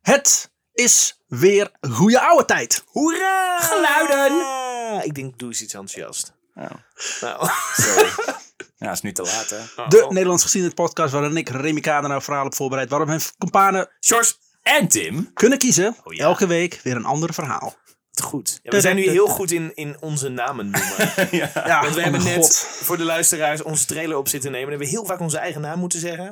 Het is weer goede oude tijd. Hoera! Geluiden! Ah, Ik denk, doe eens iets enthousiast. Oh, Nou. sorry. ja, is nu te laat, hè? De Oh. Nederlands gezien het podcast waarin ik Remy Kader nou verhaal op voorbereid. Waarom mijn kompanen Sjors, En Tim. kunnen kiezen. Oh ja. Elke week weer een ander verhaal. het goed. Ja, we zijn nu heel goed in, in onze namen noemen. ja. Ja, Want we oh hebben mijn net god. voor de luisteraars onze trailer op zitten nemen. En hebben we heel vaak onze eigen naam moeten zeggen.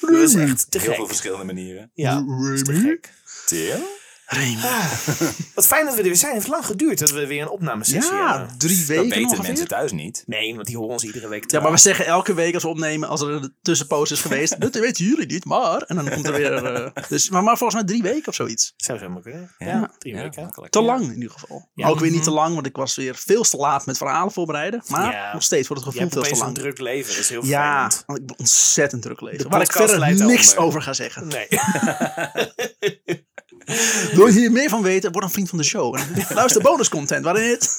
Dat is echt te Heel veel gek. verschillende manieren. Ja, dat is te Remy? gek. Tim? Ah, Remy. Wat fijn dat we er weer zijn. Het heeft lang geduurd dat we weer een opnamesessie Ja, hebben. drie Dat weken weten ongeveer. mensen thuis niet. Nee, want die horen ons iedere week Ja, maar we terug. zeggen elke week als we opnemen, als er een tussenpoos is geweest. dat weten jullie niet, maar. En dan komt er weer. eh, dus, maar, maar volgens mij drie weken of zoiets. Zou zo maar kunnen. Ja, drie Ja, weken. makkelijk. Te Ja. lang in ieder geval. Ja. Mhm. Ook weer niet te lang, want ik was weer veel te laat met verhalen voorbereiden. Maar Ja. nog steeds voor het Je gevoel hebt veel te opeens een lang. druk leven. Dat is heel Ja, vervelend. want ik ben ontzettend druk lezen. De Waar ik podcast leidt verder niks daaronder. over ga zeggen. Nee. Wil je hier meer van weten, word een vriend van de show. En luister bonuscontent waarin het...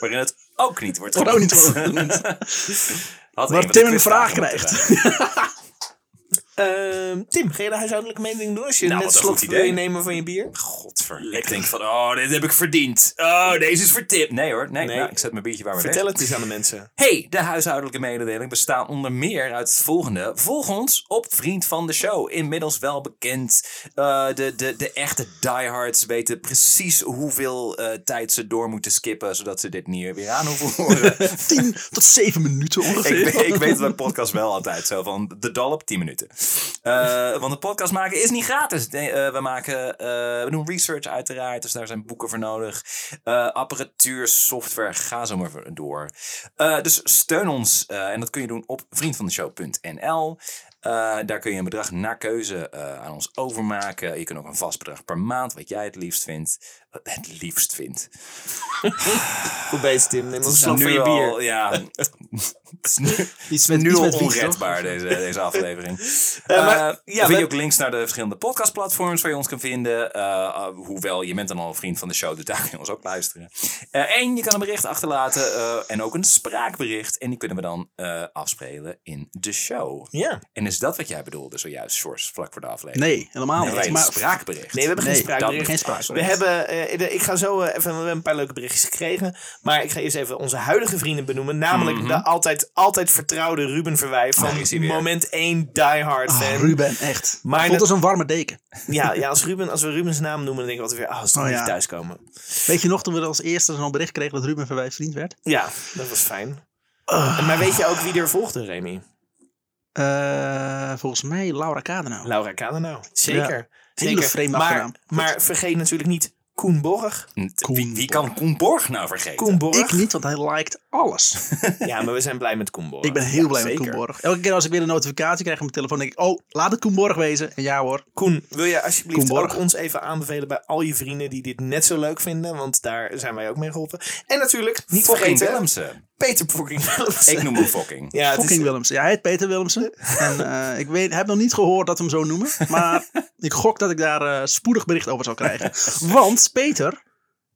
Waarin het ook niet wordt Wordt ook niet genoemd. genoemd. Had Waar een van de Tim een vraag quizvragen moeten krijgt. zijn. Ehm, Tim, ga je de huishoudelijke mededeling doen als je Nou, net wat een slot goed wil je idee. nemen van je bier? Godver. Ik denk van, oh, dit heb ik verdiend. Oh, deze is voor Tim. Nee hoor, nee. Nee. nou, ik zet mijn biertje waar we Vertel het eens aan de mensen. Hey, de huishoudelijke mededeling bestaat onder meer uit het volgende. Volg ons op Vriend van de Show. Inmiddels wel bekend. Eh, de, de, de echte diehards weten precies hoeveel eh, tijd ze door moeten skippen. Zodat ze dit niet weer aan hoeven horen. 10 tot 7 minuten ongeveer. ik, weet- ik weet bij podcast wel altijd zo van de dal op 10 minuten. Eh, want een podcast maken is niet gratis. Nee, eh, we, maken, eh, we doen research uiteraard, dus daar zijn boeken voor nodig. Eh, apparatuur, software, ga zo maar voor- door. Eh, dus steun ons eh, en dat kun je doen op vriendvandeshow.nl. Eh, daar kun je een bedrag naar keuze eh, aan ons overmaken. Je kunt ook een vast bedrag per maand, wat jij het liefst vindt. Het liefst vindt. Nou, Goed bezig, Tim. Neem een slok Nu van je bier. al, ja. Het is nu- Iets met, nu iets al met wiet, onredbaar, toch? deze, deze aflevering. Eh, maar- Eh, ja, dan vind we- je ook links naar de verschillende podcastplatforms waar je ons kan vinden. Eh, eh, hoewel, je bent dan al een vriend van de show, dus daar kun je ons ook luisteren. Eh, en je kan een bericht achterlaten eh, en ook een spraakbericht. En die kunnen we dan eh, afspelen in de show. Ja. En is dat wat jij bedoelde zojuist, Sjors, vlak voor de aflevering? Nee, helemaal Nee, niet. een Maar spraakbericht. Nee, we hebben geen Nee, dat spraakbericht. geen We sprake. hebben, eh, de- ik ga zo eh, even, we hebben een paar leuke berichtjes gekregen. Maar ik ga eerst even onze huidige vrienden benoemen. Namelijk Mhm. de altijd, altijd vertrouwde Ruben Verwij van Daar is hij weer. moment 1 Die Hard fan. Ah, Ruben, echt. Maar Maar dat- Voelt als een warme deken. Ja, ja als, Ruben, als we Ruben's naam noemen, dan denk ik altijd weer, ah, als we Oh, niet ja. thuiskomen. Weet je nog toen we als eerste zo'n bericht kregen dat Ruben van wij vriend werd? Ja, dat was fijn. Maar weet je ook wie er volgde, Remy? Eh, volgens mij Laura Kadenau. Laura Kadenau. Zeker. Hele Zeker. vreemde maar, achternaam. maar vergeet natuurlijk niet Koen Borg. Wie, wie kan Koen Borg nou vergeten? Koen Borg. Ik niet, want hij liked alles. Ja, maar we zijn blij met Koen Borg. Ik ben heel Ja, blij met zeker. Koenborg. Elke keer als ik weer een notificatie krijg op mijn telefoon, denk ik: Oh, laat het Koenborg wezen. En ja hoor. Koen, wil je alsjeblieft Koen Borg. ook ons even aanbevelen bij al je vrienden die dit net zo leuk vinden? Want daar zijn wij ook mee geholpen. En natuurlijk, niet Fucking vergeten, Willemsen. Peter fucking Willemsen. Ik noem hem fucking. ja, het is- Fucking Willemsen. Ja, hij heet Peter Willemsen. En eh, ik weet, heb nog niet gehoord dat we hem zo noemen. Maar ik gok dat ik daar eh, spoedig bericht over zal krijgen. Want Peter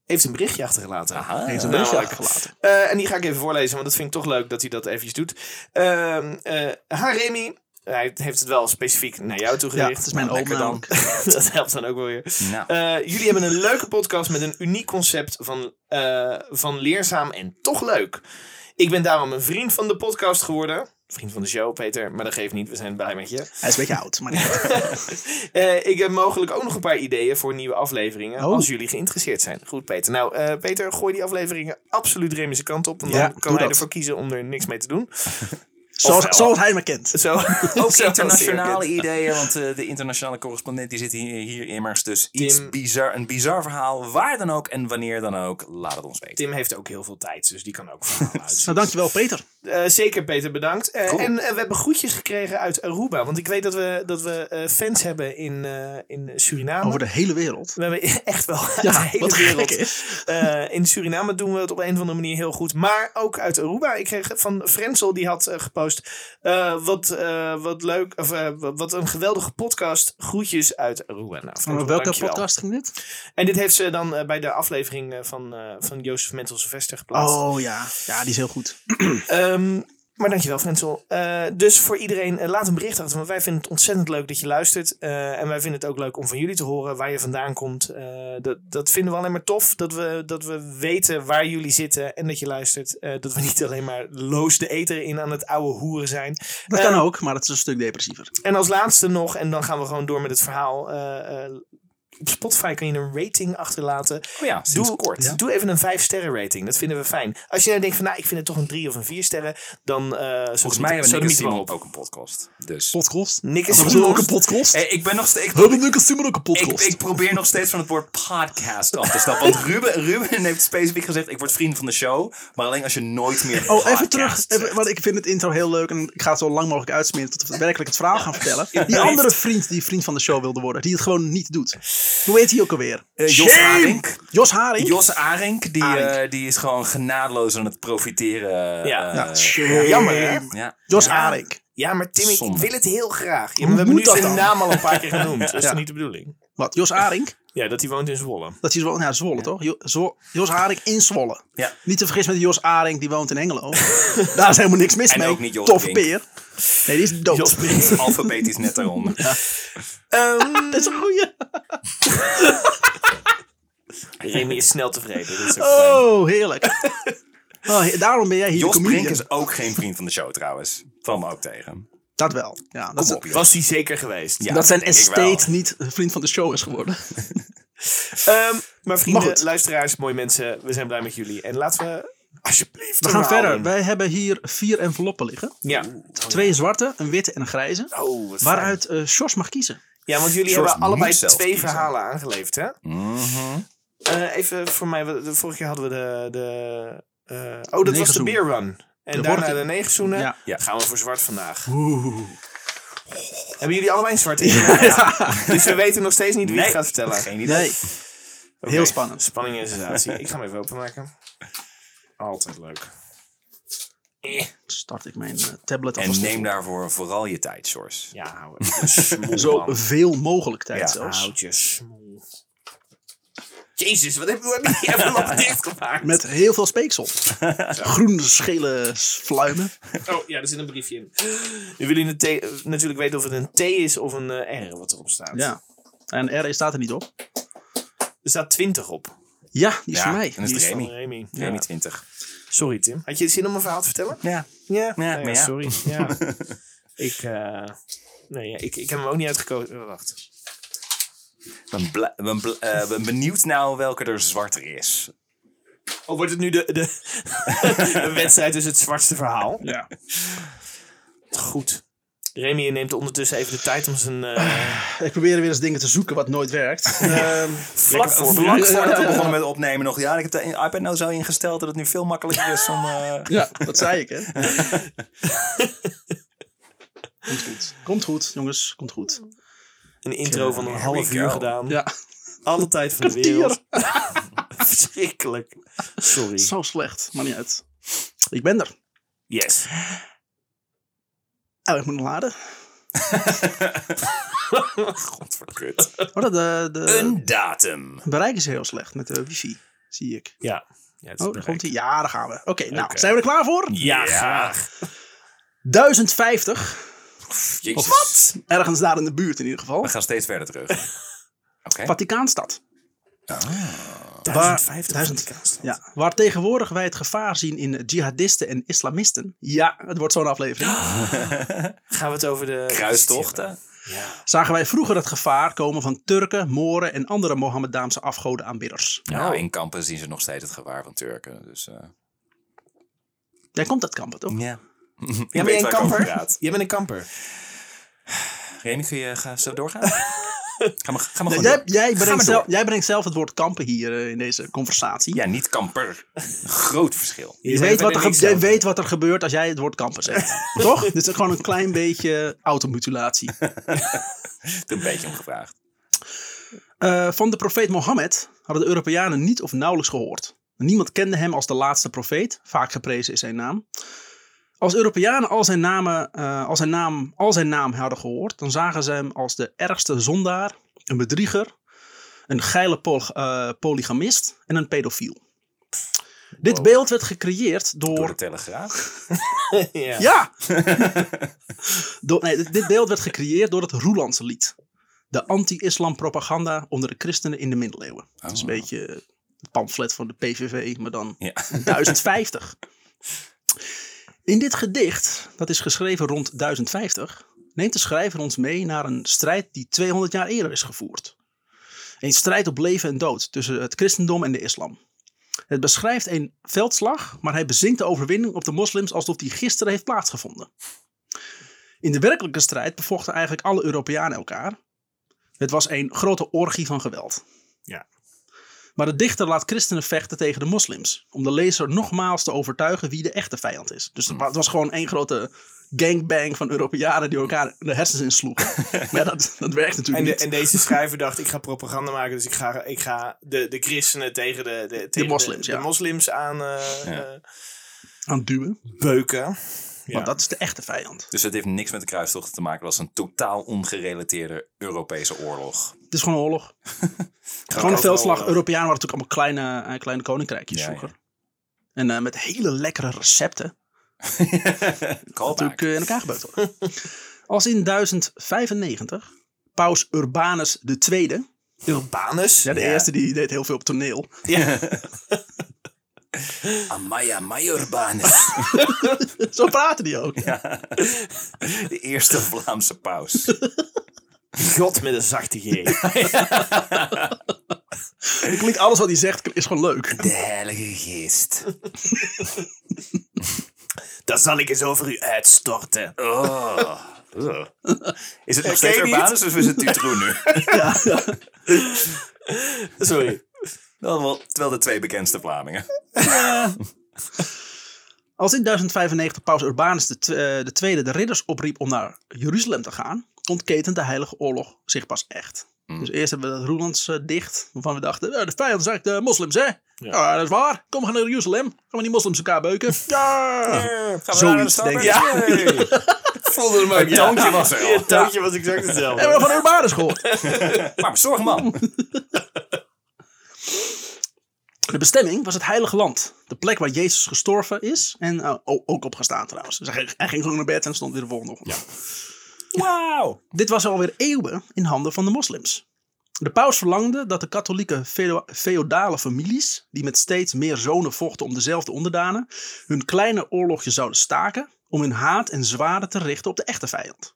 heeft een berichtje achtergelaten. Aha. heeft een Nou, berichtje leuk. achtergelaten. Eh, en die ga ik even voorlezen, want dat vind ik toch leuk dat hij dat eventjes doet. Ehm eh, ha Remy. Hij heeft het wel specifiek naar jou Ja, toegericht. het is mijn Nou, oom lekker dan. namelijk. dat helpt dan ook wel weer. Nou. Eh, jullie hebben een leuke podcast met een uniek concept van, eh, van leerzaam en toch leuk. Ik ben daarom een vriend van de podcast geworden. Vriend van de show, Peter, maar dat geeft niet, we zijn blij met je. Hij is een beetje oud, maar niet uit. Eh, ik heb mogelijk ook nog een paar ideeën voor nieuwe afleveringen, Oh. als jullie geïnteresseerd zijn. Goed, Peter. Nou, eh, Peter, gooi die afleveringen absoluut Remy's kant op, want Ja, dan doe kan hij dat. ervoor kiezen om er niks mee te doen. zoals, wel. zoals hij me kent. Zo, Ook zo internationale ideeën, want eh, de internationale correspondent die zit hier, hier immers. Dus iets Tim. bizar, een bizar verhaal, waar dan ook en wanneer dan ook, laat het ons weten. Tim heeft ook heel veel tijd, dus die kan ook verhalen uitzien. Nou, dankjewel Peter. Eh, zeker, Peter, bedankt. Eh, Cool. En eh, we hebben groetjes gekregen uit Aruba. Want ik weet dat we, dat we eh, fans hebben in, eh, in Suriname. Over de hele wereld. We hebben e- echt wel uit Oh, Ja, de hele wat wereld. gek is. Eh, in Suriname doen we het op een of andere manier heel goed. Maar ook uit Aruba. Ik kreeg van Frensel, die had eh, gepost. eh, wat, eh, wat leuk. Of, eh, wat een geweldige podcast. Groetjes uit Aruba. Nou, Frensel, Van welke dankjewel. podcast ging dit? En dit heeft ze dan eh, bij de aflevering eh, van, eh van Jozef Mentel Sylvester geplaatst. Oh ja, ja die is heel goed. Ehm, Maar dankjewel, Frensel. Eh, dus voor iedereen, eh, laat een bericht achter. Want wij vinden het ontzettend leuk dat je luistert. Eh, en wij vinden het ook leuk om van jullie te horen waar je vandaan komt. Eh, dat, dat vinden we alleen maar tof. Dat we, dat we weten waar jullie zitten en dat je luistert. Eh, dat we niet alleen maar loos de eter in aan het oude hoeren zijn. Dat Eh, kan ook, maar dat is een stuk depressiever. En als laatste nog, en dan gaan we gewoon door met het verhaal. eh, eh, op Spotify kan je een rating achterlaten. Oh ja, sinds Doe, kort. doe even een 5 sterren rating. Dat vinden we fijn. Als je nou denkt van nou, ik vind het toch een 3 of een 4 sterren, dan eh Volgens mij hebben we niet Nick en Simon ook een podcast. Dus. Podcast? Nick en Hebben ze Simon. ook een podcast? Hey, ik ben nog steeds... ik- Hebben Nick en Simon ook een Eh, Ik, podcast? ik probeer nog steeds van het woord podcast af te stappen. Want Ruben, Ruben heeft specifiek gezegd: ik word vriend van de show. Maar alleen als je nooit meer. Oh, even podcast terug. zegt. Even, want ik vind het intro heel leuk en ik ga het zo lang mogelijk uitsmeren tot we werkelijk het verhaal gaan vertellen. Die andere vriend die vriend van de show wilde worden, die het gewoon niet doet. Hoe heet hij ook alweer? Eh, Jos Shame! Haring. Jos Haring? Jos Arink, die, Arink. eh, die is gewoon genadeloos aan het profiteren. eh, Ja. Ja, ja. shame. Jammer, hè? ja. Jos Haring. Ja, maar Tim, ik Zonde. wil het heel graag. Hoe Ja, maar we hebben nu moet dat zijn dan? naam al een paar keer genoemd. dus Dat is Ja. toch niet de bedoeling? Wat? Jos Haring? Ja, dat hij woont in Zwolle. Dat is Zwolle, nou, Zwolle toch? Jo- Zwo- Jos Haring in Zwolle. Ja. Niet te vergissen met Jos Haring, die woont in Engelo. Daar is helemaal niks mis En mee. ook niet Jos Toffe Brink. peer. Nee, die is dood. Jos Brink. Alfabetisch net daaronder. Ehm, Dat is een goeie. Remy is snel tevreden. Dat is ook fijn. Oh, heerlijk. Oh, he- daarom ben jij hier Jos de comedian. Brink is ook geen vriend van de show trouwens. Van me ook tegen. Dat wel. Ja, dat, Kom is- op, joh. Was hij zeker geweest. Ja, dat zijn ik wel. estate niet vriend van de show is geworden. Ehm, maar vrienden, Maar goed. luisteraars, mooie mensen, we zijn blij met jullie. En laten we alsjeblieft We een gaan verhaal verder. doen. Wij hebben hier vier enveloppen liggen. Oh, Ja. Twee zwarte, een witte en een grijze. Oh, wat fijn. Waaruit eh Sjors mag kiezen. Ja, want jullie George hebben allebei moet zelf twee kiezen. verhalen aangeleverd, hè? Mhm. Eh, even voor mij, we- de vorige keer hadden we de... de eh, oh, dat was de Negenzoen. beer run. En De daarna wortel. de negenzoenen. Ja. Ja. Gaan we voor zwart vandaag. Oeh. Hebben jullie allebei een zwart ingeladen? Dus we weten nog steeds niet wie Nee. het gaat vertellen. Geen idee. Nee. Oké, heel spannend. Spanning en sensatie. Ik ga hem even openmaken. Altijd leuk. Eh, Start ik mijn eh, tablet En alvast. neem daarvoor vooral je tijd, Sjors. Ja, hou het. Smoel, Zo man. veel mogelijk tijd Ja, zelfs. Houd je smoel. Jezus, wat heb hoe heb je even nog dichtgemaakt? Met heel veel speeksel. Groene, schele s- fluimen. Oh, ja, er zit een briefje in. Nu willen jullie thee- eh, natuurlijk weten of het een T is of een eh, R wat erop staat. Ja. En R staat er niet op. Er staat 20 op. Ja, die is Ja, voor mij. en dat Die is is Remy. Van Remy. Nee, Ja. niet 20. Sorry Tim. Had je zin om een verhaal te vertellen? Nou Ja, Ja. maar ja. sorry. Ja. ik, eh, nee, ja, ik, ik heb hem ook niet uitgekozen. Oh, Wacht. Ik ben, bla- ben, bla- eh, ben benieuwd nou welke er zwarter is. Oh, wordt het nu de, de, de wedstrijd is het zwartste verhaal? Ja. Goed. Remy neemt ondertussen even de tijd om zijn... eh Ik probeer weer eens dingen te zoeken wat nooit werkt. Ehm, vlak Vlak voor. voordat we begonnen met opnemen nog. Ja, ik heb de iPad nou zo ingesteld dat het nu veel makkelijker is om... eh, ja, dat zei ik, hè. Komt goed. Komt goed, jongens. Komt goed. Een intro van een Here half we uur go. gedaan. Ja, Alle tijd van de wereld. Verschrikkelijk. Sorry. zo slecht. Maar niet uit. Ik ben er. Yes. Oh, ik moet nog laden. Godverkut. Oh, dat, de, de Een datum. bereik is heel slecht met de wifi, zie ik. Ja. ja het is Oh, daar bereikt. komt hij. Ja, daar gaan we. Oké, nou, Oké. zijn we er klaar voor? Ja, graag. 1050. Jezus. Ergens daar in de buurt in ieder geval. We gaan steeds verder terug. Oké. Vaticaanstad. 1050 1000. Vaticaanstad. Ja, waar tegenwoordig wij het gevaar zien in jihadisten en islamisten. Ja, het wordt zo'n aflevering. Gaan we het over de... Kruistochten. Ja. Zagen wij vroeger het gevaar komen van Turken, Moren en andere Mohammedaanse afgodenaanbidders. Nou, in kampen zien ze nog steeds het gewaar van Turken. Dus, eh, Jij komt uit Kampen, toch? ja. Ik Jij bent een weet waar ik over kamper? praat. Jij bent een kamper. Remy, kun je ga, zo doorgaan? ga maar, ga maar gewoon Jij, door. jij, Ga brengt maar zelf, door. jij brengt zelf het woord kampen hier eh, in deze conversatie. Ja, niet kamper. Groot verschil. Je weet, wat er ge- jij weet wat er gebeurt als jij het woord kampen zegt. Toch? Dit is gewoon een klein beetje automutilatie. Een beetje omgevraagd. Eh, van de profeet Mohammed hadden de Europeanen niet of nauwelijks gehoord. Niemand kende hem als de laatste profeet. Vaak geprezen is zijn naam. Als Europeanen al zijn, namen, eh, al zijn, naam, al zijn naam hadden gehoord, dan zagen ze hem als de ergste zondaar, een bedrieger, een geile pol- eh, polygamist en een pedofiel. Dit beeld werd gecreëerd Door door de Telegraaf. ja. Ja! Door- nee, dit- dit beeld werd gecreëerd door het Roelandse lied. De anti-islam propaganda onder de christenen in de middeleeuwen. Dat is een Oh. beetje het pamflet van de PVV, maar dan Ja. 1050. In dit gedicht, dat is geschreven rond 1050, neemt de schrijver ons mee naar een strijd die 200 jaar eerder is gevoerd. Een strijd op leven en dood tussen het christendom en de islam. Het beschrijft een veldslag, maar hij bezinkt de overwinning op de moslims alsof die gisteren heeft plaatsgevonden. In de werkelijke strijd bevochten eigenlijk alle Europeanen elkaar. Het was een grote orgie van geweld. Ja. Maar de dichter laat christenen vechten tegen de moslims. Om de lezer nogmaals te overtuigen wie de echte vijand is. Dus het wa- het was gewoon één grote gangbang van Europeanen die elkaar de hersens insloegen. maar ja, dat, dat werkt natuurlijk En, de- niet. en deze schrijver dacht, ik ga propaganda maken, dus ik ga, ik ga de, de christenen tegen de, de, tegen moslims, de, ja. de moslims aan eh, Ja. eh, Aan het duwen. beuken. Ja. Want dat is de echte vijand. Dus het heeft niks met de kruistochten te maken. Dat is een totaal ongerelateerde Europese oorlog. Het is gewoon een oorlog. Gewoon een veldslag. Europeanen waren natuurlijk allemaal kleine, eh, kleine koninkrijkjes eh, Ja, vroeger. En eh, met hele lekkere recepten. Callback. natuurlijk eh, in elkaar gebeukt worden. Als in 1095 paus Urbanus II, Urbanus. ja, de Ja. eerste die deed heel veel op toneel. Amaya Majorbanus. Zo praten die ook. De eerste Vlaamse paus. God met een zachte G. Het klinkt alles wat hij zegt is gewoon leuk. De Heilige Geest. Daar zal ik eens over u uitstorten. Oh. Is het nog Herken steeds je niet? Urbanus of is het Tutro nu? Ja, ja. Sorry. Wel, wel, wel de twee bekendste Vlamingen. Als in 1095 paus Urbanus II eh, II de ridders opriep om naar Jeruzalem te gaan, ontketent de heilige oorlog zich pas echt. Hmm. Dus eerst hebben we dat Roelands eh, dicht, waarvan we dachten, eh, de vijand zijn eigenlijk de moslims, hè? Ja. dat is waar. Kom, we gaan naar Jeruzalem. Gaan we die moslims elkaar beuken? Ja! Hmm, Gaan we Zoiets, naar de Starbucks? denk Ja. Voelde hem ook, Het toontje was er al. Het toontje was exact hetzelfde. Hebben we van Urbanus gehoord? Maar zorg man. De bestemming was het Heilige Land. De plek waar Jezus gestorven is en eh, o- ook opgestaan trouwens. Dus hij, ging- hij ging gewoon naar bed en stond weer de volgende ochtend. Wauw. Dit was alweer eeuwen in handen van de moslims. De paus verlangde dat de katholieke feo- feodale families, die met steeds meer zonen vochten om dezelfde onderdanen, hun kleine oorlogjes zouden staken om hun haat en zwaarden te richten op de echte vijand.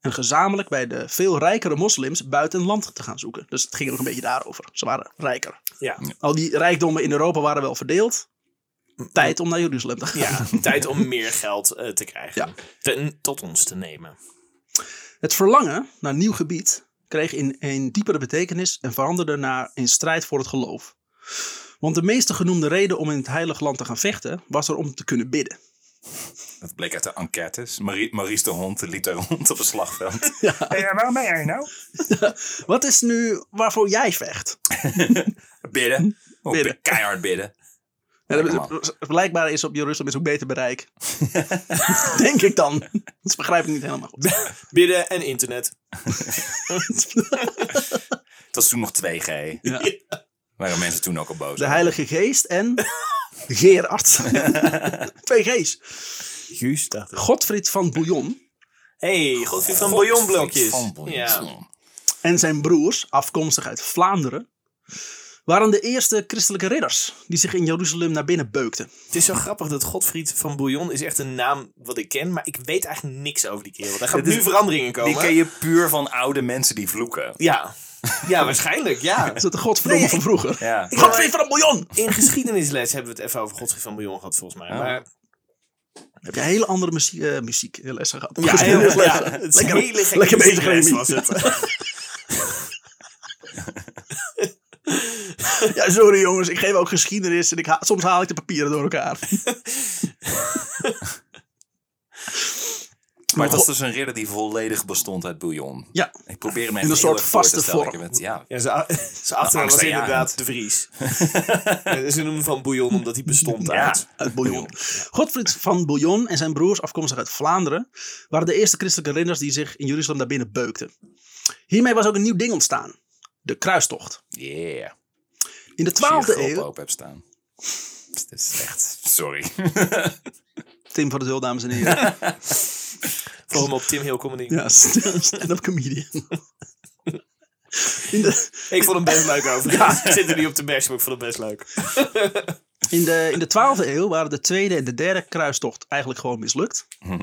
En gezamenlijk bij de veel rijkere moslims buiten het land te gaan zoeken. Dus het ging nog een beetje daarover. Ze waren rijker. Ja. Al die rijkdommen in Europa waren wel verdeeld. Tijd om naar Jeruzalem te gaan. Ja, tijd om meer geld eh, te krijgen. Ja. Ten- tot ons te nemen. Het verlangen naar nieuw gebied kreeg in een diepere betekenis en veranderde naar een strijd voor het geloof. Want de meeste genoemde reden om in het heilige land te gaan vechten was er om te kunnen bidden. Dat bleek uit de enquêtes. Marie, Maurice de Hond liep daar rond op het slagveld. Ja. waarom ben jij nou? Wat is nu waarvoor jij vecht? Bidden. Oh, Bidden. bi- Keihard bidden. Ja, dat- Lekker blijkbaar is op Jeruzalem is ook beter bereik. Denk ik dan. Dat begrijp ik niet helemaal goed. Bidden en internet. Het was toen nog 2G. Ja. Waren mensen toen ook al boos. De Heilige Geest en Gerard. Twee G's. Juist, dacht ik. Godfried van Bouillon hey, Godfried van Godfried Bouillonblokjes. van Bouillon. Ja. en zijn broers, afkomstig uit Vlaanderen, waren de eerste christelijke ridders die zich in Jeruzalem naar binnen beukten. Het is zo grappig dat Godfried van Bouillon is echt een naam wat ik ken, maar ik weet eigenlijk niks over die kerel. Daar gaan Dit is- nu veranderingen komen. Die ken je puur van oude mensen die vloeken. Ja. ja, waarschijnlijk, ja. Dat is de godverdomme Nee, van vroeger. Ja. Godfried van een miljoen! In geschiedenisles hebben we het even over Godfried van Bouillon gehad, volgens mij. Ja. Maar, Heb je hele andere muziek, eh muziek eh, lessen gehad? ja, heel, ja, het is een Lekker- hele gekke lekker bezig, geschiedenis Remy. was het. eh. Ja, sorry jongens, ik geef ook geschiedenis en ik ha- soms haal ik de papieren door elkaar. Maar het was dus een ridder die volledig bestond uit bouillon. Ja. Ik probeer hem even een heel soort erg voor te vaste stellen. vorm. Ik heb het- ja. Ja, zijn zijn achternaam was angstaanjagend. inderdaad De Vries. En Ze noemen hem van Bouillon omdat hij bestond Ja. uit. Uit Bouillon. Godfried van Bouillon en zijn broers, afkomstig uit Vlaanderen, waren de eerste christelijke ridders die zich in Jeruzalem naar binnen beukten. Hiermee was ook een nieuw ding ontstaan: de kruistocht. Yeah. In de Als je 12e je eeuw grop op hebt staan. Het is echt... Sorry. Tim van der Zul, dames en heren. Voor hem op Tim Hill Comedy. ja, st- stand-up comedian. In de, Ik vond hem best leuk overigens. Ik zit er niet op de best, maar ik vond hem best leuk. in, de, in de 12e eeuw waren de tweede en de derde kruistocht eigenlijk gewoon mislukt.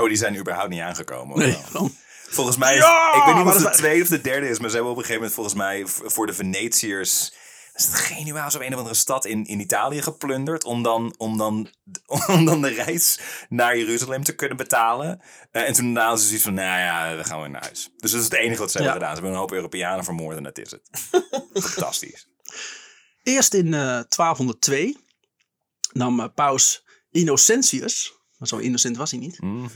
Oh, die zijn überhaupt niet aangekomen. of wel? gewoon. Volgens mij, is- Ja, ik weet maar niet of het dat de is- tweede of de derde is, maar ze hebben op een gegeven moment volgens mij v- voor de Venetiërs. Is het Genua of een of andere stad in, in Italië geplunderd? Om dan, om, dan, om dan de reis naar Jeruzalem te kunnen betalen. Eh, en toen hadden ze zoiets van: nou ja, we gaan weer naar huis. Dus dat is het enige wat ze Ja. hebben gedaan. Ze hebben een hoop Europeanen vermoord en dat is het. Fantastisch. Eerst in eh, 1202 nam eh, paus Innocentius, maar zo innocent was hij niet, Mhm.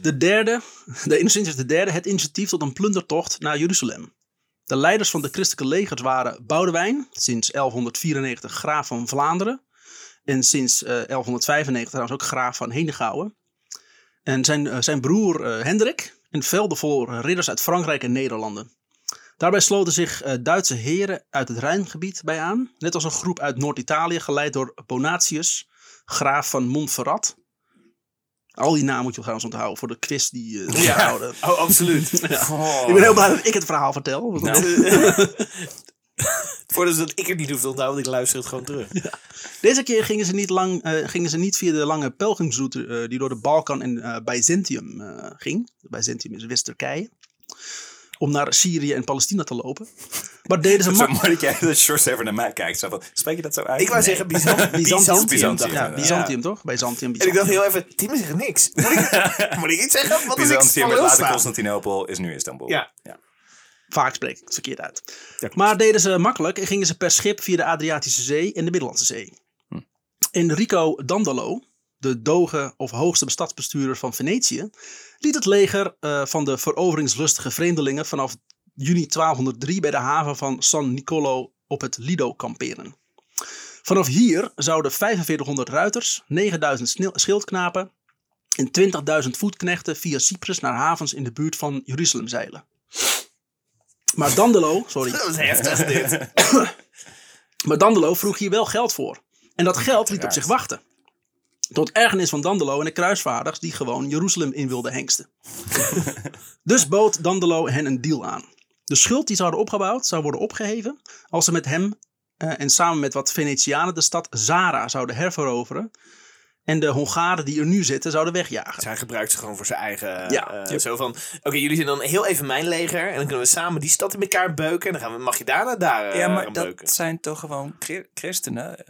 de derde, de Innocentius de derde, het initiatief tot een plundertocht naar Jeruzalem. De leiders van de christelijke legers waren Boudewijn, sinds 1194 graaf van Vlaanderen. En sinds eh, 1195 trouwens ook graaf van Henegouwen. En zijn, eh, zijn broer eh, Hendrik en velden voor eh, ridders uit Frankrijk en Nederlanden. Daarbij sloten zich eh, Duitse heren uit het Rijngebied bij aan. Net als een groep uit Noord-Italië, geleid door Bonatius, graaf van Montferrat. Al die namen moet je trouwens onthouden voor de quiz die eh Ja. onthouden. Oh, absoluut. Oh. Ik ben heel blij dat ik het verhaal vertel. want Nou. Voordat dat ik het niet hoef te onthouden, want ik luister het gewoon terug. Deze keer gingen ze niet, lang, eh, gingen ze niet via de lange pelgrimsroute eh, die door de Balkan en eh, Byzantium eh, ging. Byzantium is West-Turkije. Om naar Syrië en Palestina te lopen. Maar deden ze Het is zo makkelijk. mooi dat jij dat Shorts even naar mij kijkt. Zo van, spreek je dat zo uit? Ik wou Nee. zeggen Byzantium. Byzantium. Byzantium. dacht ik. Ja, Byzantium toch? Byzantium, En ik dacht Byzantium. heel even, Tim zegt niks. Moet ik, moet ik iets zeggen? Wat is niks Byzantium van werd wil later slaan? Constantinopel, is nu Istanbul. Ja. Vaak spreek ik het verkeerd uit. klopt. maar deden ze makkelijk en gingen ze per schip via de Adriatische Zee en de Middellandse Zee. Enrico Dandalo, de doge of hoogste stadsbestuurder van Venetië, liet het leger eh, van de veroveringslustige vreemdelingen vanaf juni 1203 bij de haven van San Nicolo op het Lido kamperen. Vanaf hier zouden 4500 ruiters, 9000 snil- schildknapen en 20.000 voetknechten via Cyprus naar havens in de buurt van Jeruzalem zeilen. Maar Dandelo, sorry, Dat is heftig dit. maar Dandelo vroeg hier wel geld voor. En dat geld liet op zich wachten. Tot ergernis van Dandelo en de kruisvaarders die gewoon Jeruzalem in wilden hengsten. dus bood Dandelo hen een deal aan. De schuld die ze hadden opgebouwd zou worden opgeheven als ze met hem eh, en samen met wat Venetianen de stad Zara zouden herveroveren. En de Hongaren die er nu zitten zouden wegjagen. Zij gebruikt ze gewoon voor zijn eigen. Ja. eh, Yep. Zo van: oké, jullie zijn dan heel even mijn leger. En dan kunnen we samen die stad in elkaar beuken. En dan gaan we, mag je daarna daar eh, Ja, maar aan dat beuken. zijn toch gewoon chri- christenen? Eh,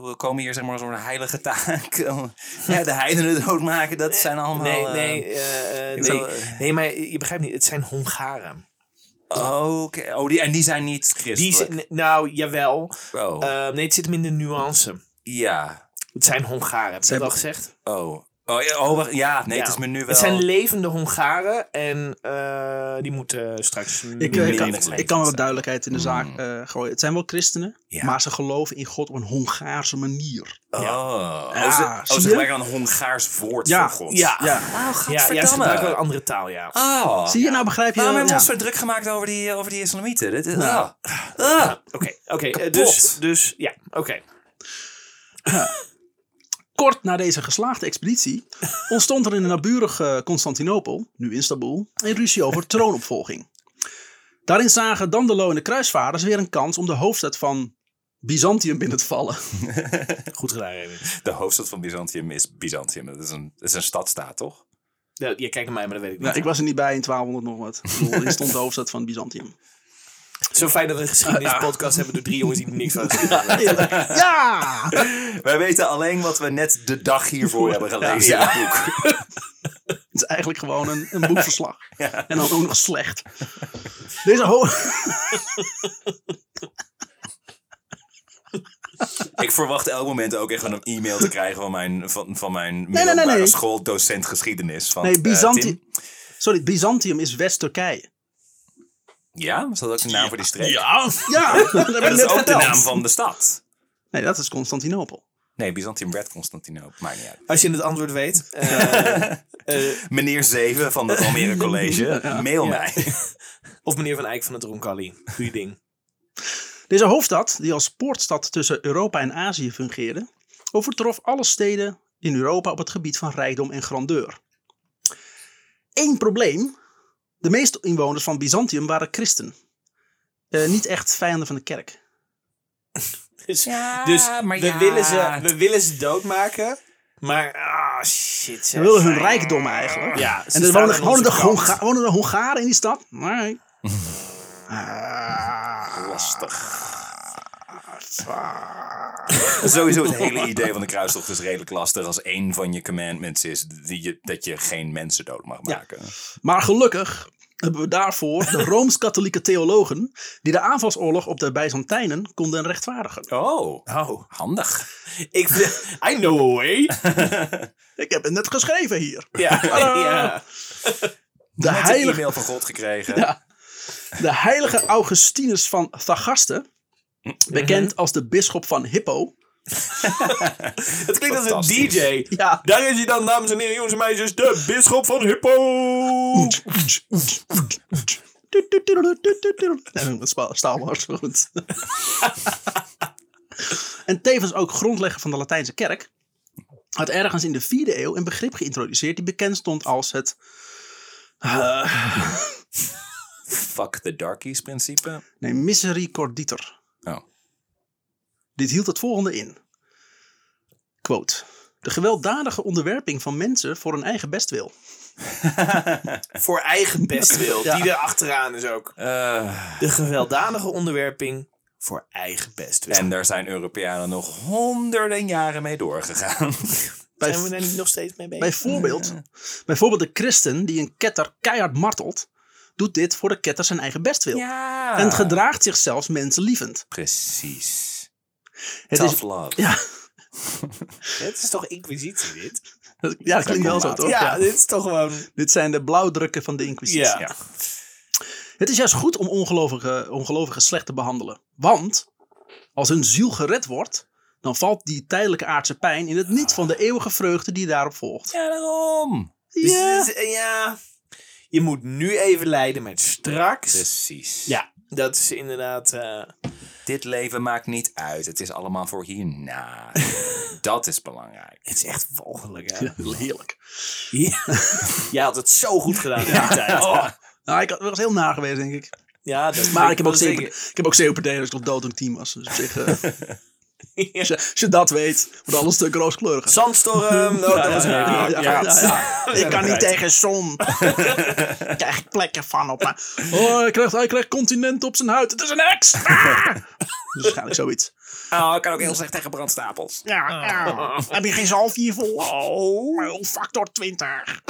We komen hier zeg maar als een heilige taak. Ja, de heidenen doodmaken, dat zijn allemaal... Nee, eh, nee, eh, eh, ik nee, bedoel, eh, nee, maar je begrijpt niet. Het zijn Hongaren. oh, oké. oh die, en die zijn niet Die christelijk. zijn, nou, jawel. oh, Eh, nee, het zit hem in de nuance. ja. Het zijn Hongaren, heb je Zijn- dat al gezegd? Oh. Oh, ja, oh, wacht, ja, nee, Ja. het is me nu wel... Het zijn levende Hongaren en eh, die moeten straks... Ik, eh, Meer ik, kan, ingeleid ik kan wel zijn. wat duidelijkheid in de Mm. zaak eh, gooien. Het zijn wel christenen, Ja. maar ze geloven in God op een Hongaarse manier. oh. Ja, oh, ze, oh, zie ze je? gebruiken dan een Hongaars woord Ja, voor God. Ah, ja, ja, Ja. Oh, ja, ze godverdamme. gebruiken wel een andere taal, ja. oh. Zie je nou, begrijp je? Waarom hebben we Ja. ons zo druk gemaakt over die, over die islamieten? Dit is, Nou. ah. Ah. Oké, oké. eh, Kapot. dus, dus, ja, oké. Kort na deze geslaagde expeditie ontstond er in de naburige Constantinopel, nu Istanbul, een ruzie over troonopvolging. Daarin zagen Dandelo en de kruisvaarders weer een kans om de hoofdstad van Byzantium binnen te vallen. Goed gedaan, Remy. De hoofdstad van Byzantium is Byzantium. Dat is een, dat is een stadstaat, toch? Nou, je kijkt naar mij, maar dat weet ik niet. Nou, ik was er niet bij in 1200 nog wat. Ik bedoel, Hier stond de hoofdstad van Byzantium. Zo fijn dat we een geschiedenispodcast hebben door drie jongens die er niks van hebben. Ja! Wij weten alleen wat we net de dag hiervoor hebben gelezen Ja. in het boek. Het is eigenlijk gewoon een, een boekverslag. En dan ook nog slecht. Deze ho Ik verwacht elk moment ook echt een e-mail te krijgen van mijn, van, van mijn nee, middelbare nee. schooldocent geschiedenis. Van, Nee, eh, Byzantium. Tim. Sorry, Byzantium is West-Turkije. ja, is dat ook de naam voor die streek? Ja, dat heb ik Maar dat net is ook de verteld. naam van de stad. Nee, dat is Constantinopel. Nee, Byzantium werd Constantinopel. Maakt niet uit. Als je het antwoord weet. eh, eh, Meneer Zeven van het Almere College, mail Ja. mij. of meneer Van Eyck van het Roncalli. Goeie ding. Deze hoofdstad, die als poortstad tussen Europa en Azië fungeerde, overtrof alle steden in Europa op het gebied van rijkdom en grandeur. Eén probleem: de meeste inwoners van Byzantium waren christen. Eh, niet echt vijanden van de kerk. Dus, Ja, dus maar we, ja. willen ze, we willen ze doodmaken. Maar, ah, shit. Ze zeg. wilden hun rijkdom eigenlijk. Ja, ze en er staan wonen, aan wonen, de onze kant. Honga- wonen de Hongaren in die stad? Nee. Ah, Lastig. fuck. Sowieso het hele idee van de kruistocht is redelijk lastig. Als één van je commandments is die je, dat je geen mensen dood mag maken. Maar gelukkig hebben we daarvoor de rooms-katholieke theologen die de aanvalsoorlog op de Byzantijnen konden rechtvaardigen. Oh, Oh, handig. ik, I know a way. Ik heb het net geschreven hier. Ja, ja. De Net een heilige, e-mail van God gekregen. Ja. de heilige Augustinus van Thagaste, bekend als de bisschop van Hippo. Het klinkt als een Fantastisch. DJ. Ja, Daar is hij dan, dames en heren, jongens en meisjes, de bisschop van Hippo. Nee, dat is wel- Star Wars, maar goed. en tevens ook grondlegger van de Latijnse kerk. Had ergens in de 4e eeuw een begrip geïntroduceerd die bekend stond als het. eh, Fuck the darkies principe. nee, misericorditer. Oh. Dit hield het volgende in. Quote. De gewelddadige onderwerping van mensen voor hun eigen bestwil. Voor eigen bestwil, Ja. die er achteraan is ook. Eh, De gewelddadige onderwerping voor eigen bestwil. en daar zijn Europeanen nog honderden jaren mee doorgegaan. Bij, zijn we daar niet nog steeds mee bezig? bijvoorbeeld, bijvoorbeeld de christen die een ketter keihard martelt, doet dit voor de ketter zijn eigen bestwil. ja. En gedraagt zich zelfs mensenlievend. Precies. Het Tough is, love. ja, Het is toch inquisitie, dit? dat- ja, dat klinkt wel zo, later. toch? Ja, dit is toch gewoon... Dit zijn de blauwdrukken van de Inquisitie. Ja. Ja. Het is juist goed om ongelovigen ongelovigen slecht te behandelen. Want als hun ziel gered wordt, dan valt die tijdelijke aardse pijn in het niet van de eeuwige vreugde die daarop volgt. Ja, daarom. Dus Ja. dit is- ja. Je moet nu even leiden met Dus- straks. Precies. Ja, dat is inderdaad... eh, Dit leven maakt niet uit. Het is allemaal voor hierna. Dat is belangrijk. het is echt walgelijk, hè? Ja, heerlijk. Ja. Jij had het zo goed gedaan in die tijd. Oh, Nou, ik had- was heel na geweest, denk ik. Ja, dat Maar ik heb ook dat zeker- zeker. Ik heb ook COPD, dus ik nog dood toen ik team was. Dus op zich, eh, Ja. als, je, als je dat weet, wordt alles een stuk rooskleuriger. Zandstorm. Oh, dat was ja, redelijk. ja, Ja. ja, ja. Ik kan niet eruit. tegen zon. Daar krijg ik plekken van op. Maar... Oh, hij krijgt, hij krijgt continent op zijn huid. Het is een heks! Ah! Dus waarschijnlijk zoiets. oh, ik kan ook heel slecht tegen brandstapels. Ja, ja. Heb je geen zalfje hiervoor? Oh, factor 20.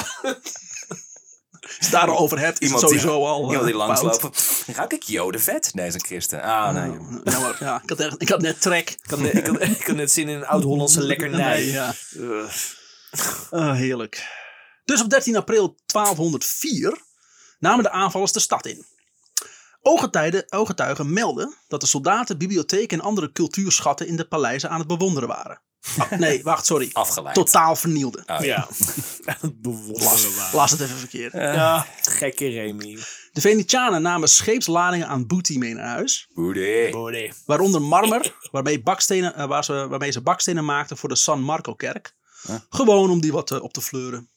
Is daar al overhead? Is het sowieso die, al. eh, iemand die fout. Nou, langsloopt. Ruik ik jodenvet? Nee, is een christen. Ah, nee. Jammer, ja. Ik had, echt- ik had net trek. Ik, had net, ik, had, ik had net zin in een oud-Hollandse lekkernij. Nee, ja. Eh. Ugh. Ah, heerlijk. Dus op 13 april 1204 namen de aanvallers de stad in. Ooggetuigen, ooggetuigen melden dat de soldaten bibliotheken en andere cultuurschatten in de paleizen aan het bewonderen waren. Ah, nee, wacht, sorry. Afgeleid. Totaal vernielden. Oh, Ja. Bewonderen Las, las het even verkeerd. Ja, gekke Remy. De Venetianen namen scheepsladingen aan booty mee naar huis. Boede. Bode. Waaronder marmer, waarmee, bakstenen, eh, waar ze, waarmee ze bakstenen maakten voor de San Marco-kerk. Gewoon om die wat eh, op te fleuren.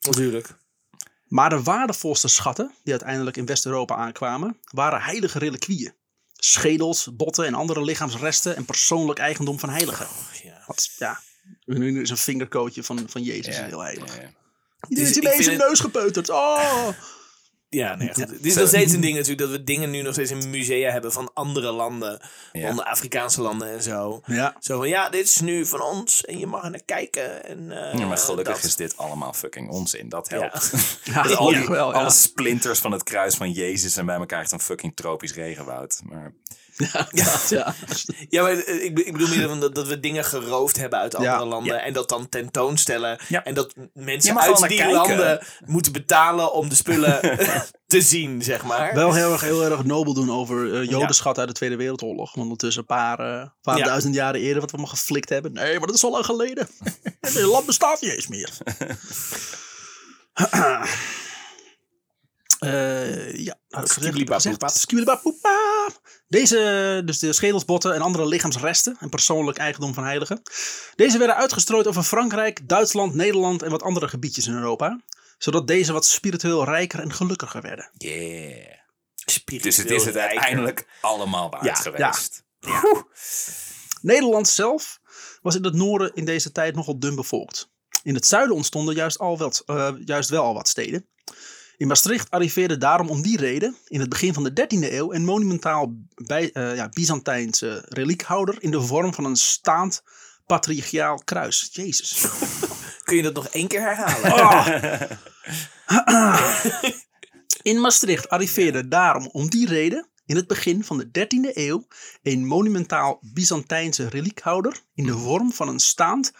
Natuurlijk. Maar de waardevolste schatten die uiteindelijk in West-Europa aankwamen, waren heilige reliquieën. Schedels, botten en andere lichaamsresten en persoonlijk eigendom van heiligen. Ja. Wat, ja, nu is een vingerkootje van, van Jezus Ja, heel heilig. ja. Iedereen Dus is ik ineens een vind neus gepeuterd. Oh! Ja, nee, echt. Het is nog steeds een ding natuurlijk dat we dingen nu nog steeds in musea hebben van andere landen. Ja. Van de Afrikaanse landen en zo. Ja, Zo van, ja, dit is nu van ons en je mag er naar kijken. En, eh, Ja, maar gelukkig dat. is dit allemaal fucking onzin. Dat helpt. ja, Al die, gelukkig wel, ja. Alle splinters van het kruis van Jezus en bij elkaar echt een fucking tropisch regenwoud. Maar Ja, ja. Ja, maar eh, ik, be- ik bedoel meer van dat, dat we dingen geroofd hebben uit andere Ja. landen. En dat dan tentoonstellen. Ja. En dat Je mensen mag uit wel die naar kijken. landen moeten betalen om de spullen te zien, zeg maar. Wel heel erg, heel erg nobel doen over eh jodenschat uit de Tweede Wereldoorlog. Want ondertussen een paar, eh, paar Ja. duizend jaren eerder wat we allemaal geflikt hebben. Nee, maar dat is al lang geleden. Dit land bestaat niet eens meer. Eh, ja, had ik gezegd. Skibidi-bap-boep-bap. Eh, nou, gezegd. Skibidi-bap-boep-bap. Ja, deze, dus de schedelsbotten en andere lichaamsresten en persoonlijk eigendom van heiligen. Deze werden uitgestrooid over Frankrijk, Duitsland, Nederland en wat andere gebiedjes in Europa. Zodat deze wat spiritueel rijker en gelukkiger werden. Yeah. Spiritueel Dus het is het rijker. uiteindelijk allemaal waard Ja, geweest. Nederland zelf was in het noorden in deze tijd nogal dun bevolkt. In het zuiden ontstonden juist, al wat, eh, juist wel al wat steden. In Maastricht arriveerde daarom om die reden in het begin van de 13e eeuw een monumentaal bij, eh, ja, Byzantijnse reliekhouder in de vorm van een staand patriarchaal kruis. Jezus. Kun je dat nog één keer herhalen? Oh. In Maastricht arriveerde daarom om die reden in het begin van de 13e eeuw een monumentaal Byzantijnse reliekhouder in de vorm van een staand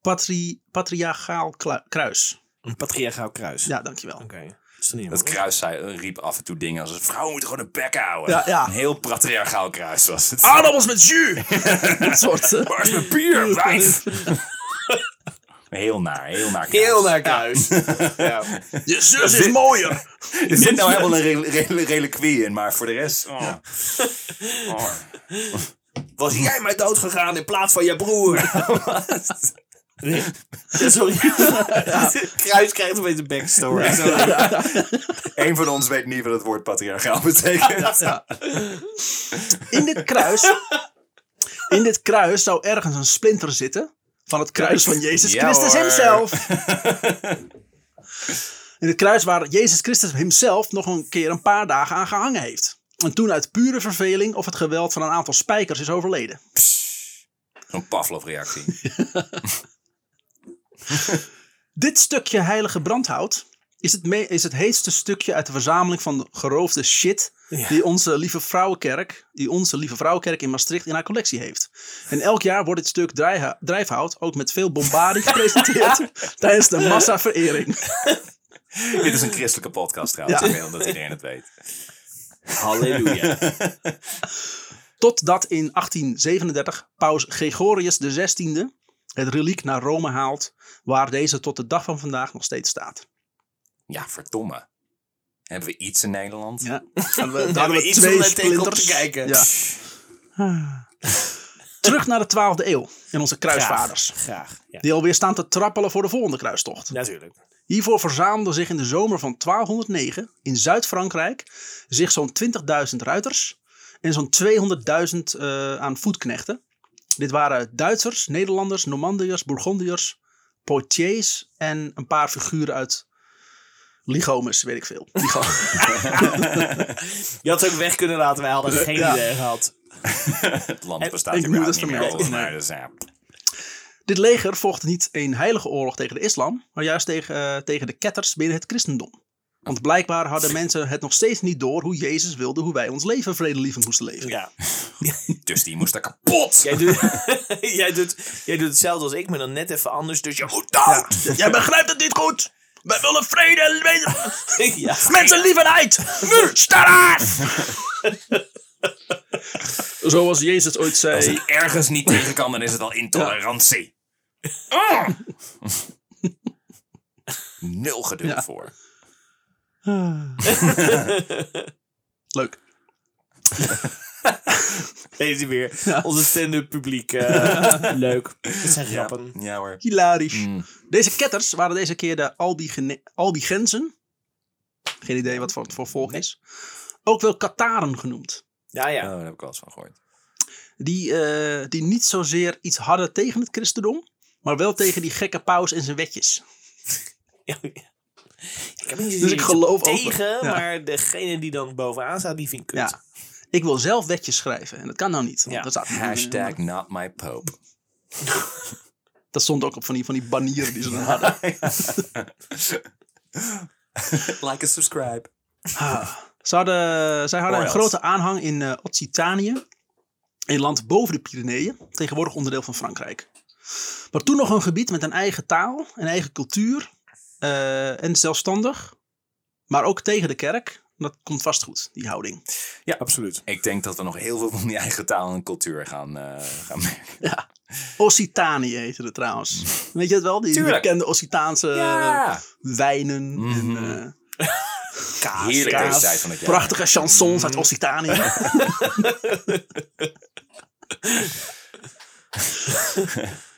patri, patriarchaal klu- kruis. Een patriarchaal kruis. Ja, dankjewel. Oké. Dat is toch niet Dat helemaal- kruis zei, riep af en toe dingen als... Vrouwen moeten gewoon een bek houden. Ja, ja. Ah, Een heel patriarchaal kruis was het. Aardappels met jus! Dat soort. eh, Waar is mijn bier, wijf? Heel naar, heel naar kruis. Heel naar kruis. Ja. Je zus is mooier! Er zit nou helemaal een rel- rel- reliquie in, maar voor de rest... oh. Oh. Was jij mij doodgegaan in plaats van je broer? Nee. Sorry. Kruis krijgt een beetje backstory. Sorry. Eén van ons weet niet wat het woord patriarchaal betekent. Ja. In dit kruis. In dit kruis zou ergens een splinter zitten. Van het kruis van Jezus Ja, Christus hoor. hemzelf. In het kruis waar Jezus Christus hemzelf nog een keer een paar dagen aan gehangen heeft. En toen uit pure verveling of het geweld van een aantal spijkers is overleden. Een Pavlov-reactie. Dit stukje heilige brandhout is het, me- is het heetste stukje uit de verzameling van de geroofde shit Ja. die onze lieve vrouwenkerk, die onze lieve vrouwenkerk in Maastricht in haar collectie heeft. En elk jaar wordt dit stuk drijha- drijfhout ook met veel bombardie gepresenteerd tijdens de massaverering. Dit is een christelijke podcast trouwens, Ja. ik wil dat iedereen het weet. Halleluja. Totdat in 1837 paus Gregorius XVI het reliek naar Rome haalt, waar deze tot de dag van vandaag nog steeds staat. Ja, verdomme. Hebben we iets in Nederland? Ja. Hadden we, Daar hebben we iets om eh, tegenop te kijken. Ja. Terug naar de 12e eeuw en onze kruisvaders. Graag. Ja. Die alweer staan te trappelen voor de volgende kruistocht. Natuurlijk. Hiervoor verzamelden zich in de zomer van 1209 in Zuid-Frankrijk zich zo'n 20.000 ruiters en zo'n 200.000 eh, aan voetknechten. Dit waren Duitsers, Nederlanders, Normandiërs, Bourgondiërs, Poitiers en een paar figuren uit Ligomes, weet ik veel. Ligo- Je had het ook weg kunnen laten, wij hadden geen Ja. idee gehad. Het land bestaat ik moet überhaupt het niet meer vermelden. over, maar dus ja. Dit leger vocht niet een heilige oorlog tegen de islam, maar juist tegen, eh, tegen de ketters binnen het christendom. Want blijkbaar hadden mensen het nog steeds niet door hoe Jezus wilde hoe wij ons leven vredelievend moesten leven. Ja. Dus die moest er kapot. Jij doet, jij, doet, jij doet hetzelfde als ik, maar dan net even anders. Dus je moet dood! Jij begrijpt het niet goed! Wij willen vrede en mensen Ja. mensenlievendheid! Nu, Ah, sta Zoals Jezus ooit Als zei. hij ergens niet tegen kan, dan is het al intolerantie. Ah! Nul geduld Ja. voor. Leuk. Deze weer. Onze stand-up publiek. eh, leuk. Het zijn grappen. Ja hoor. Hilarisch. Mm. Deze ketters waren deze keer de Albigene- Albigensen. Geen idee wat voor het voor volk is. Ook wel Kataren genoemd. Ja, ja. Oh, daar heb ik wel eens van gehoord. die, eh, die niet zozeer iets hadden tegen het christendom, maar wel tegen die gekke paus en zijn wetjes. Ja, ja. Ik heb niet Dus zozeer ik iets geloof ook- tegen, ja. maar degene die dan bovenaan staat, die vind ik kut. Ja. Ik wil zelf wetjes schrijven en dat kan nou niet. want Ja. Dat, staat- Ah, Hashtag not my pope. dat stond ook op van die, van die banieren die ze dan hadden. like en subscribe. Ah. Ze hadden, zij hadden een Royals. grote aanhang in eh Occitanië, een land boven de Pyreneeën, tegenwoordig onderdeel van Frankrijk. Maar toen nog een gebied met een eigen taal, een eigen cultuur eh, en zelfstandig, maar ook tegen de kerk. Dat komt vast goed, die houding. Ja, absoluut. Ik denk dat we nog heel veel van die eigen taal en cultuur gaan, eh, gaan merken. Occitanië heette het trouwens. Weet je het wel? Die Tuurlijk. bekende Occitaanse Ja. wijnen. Mhm. En, eh, kaas. Heerlijk kaas. deze tijd van het jaar. Mm. Prachtige chansons uit Occitanië.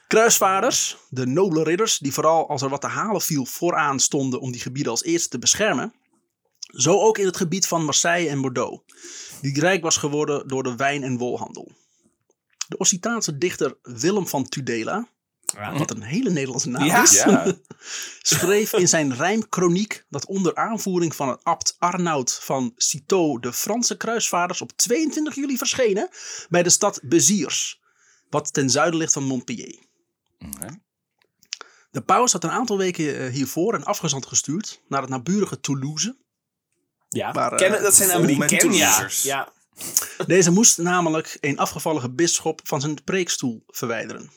Kruisvaarders, de nobele ridders, die vooral als er wat te halen viel vooraan stonden om die gebieden als eerste te beschermen. Zo ook in het gebied van Marseille en Bordeaux, die rijk was geworden door de wijn- en wolhandel. De Occitaanse dichter Willem van Tudela, wat een hele Nederlandse naam Ja. is, Ja. schreef in zijn rijmkroniek dat onder aanvoering van het abt Arnoud van Citeaux de Franse kruisvaarders op 22 juli verschenen bij de stad Beziers, wat ten zuiden ligt van Montpellier. Oké. De paus had een aantal weken eh, hiervoor een afgezant gestuurd naar het naburige Toulouse. Ja. Maar, eh, Kennen- dat zijn vol met namelijk die Kenia. toezers. Ja. Deze moest namelijk een afgevallige bisschop van zijn preekstoel verwijderen.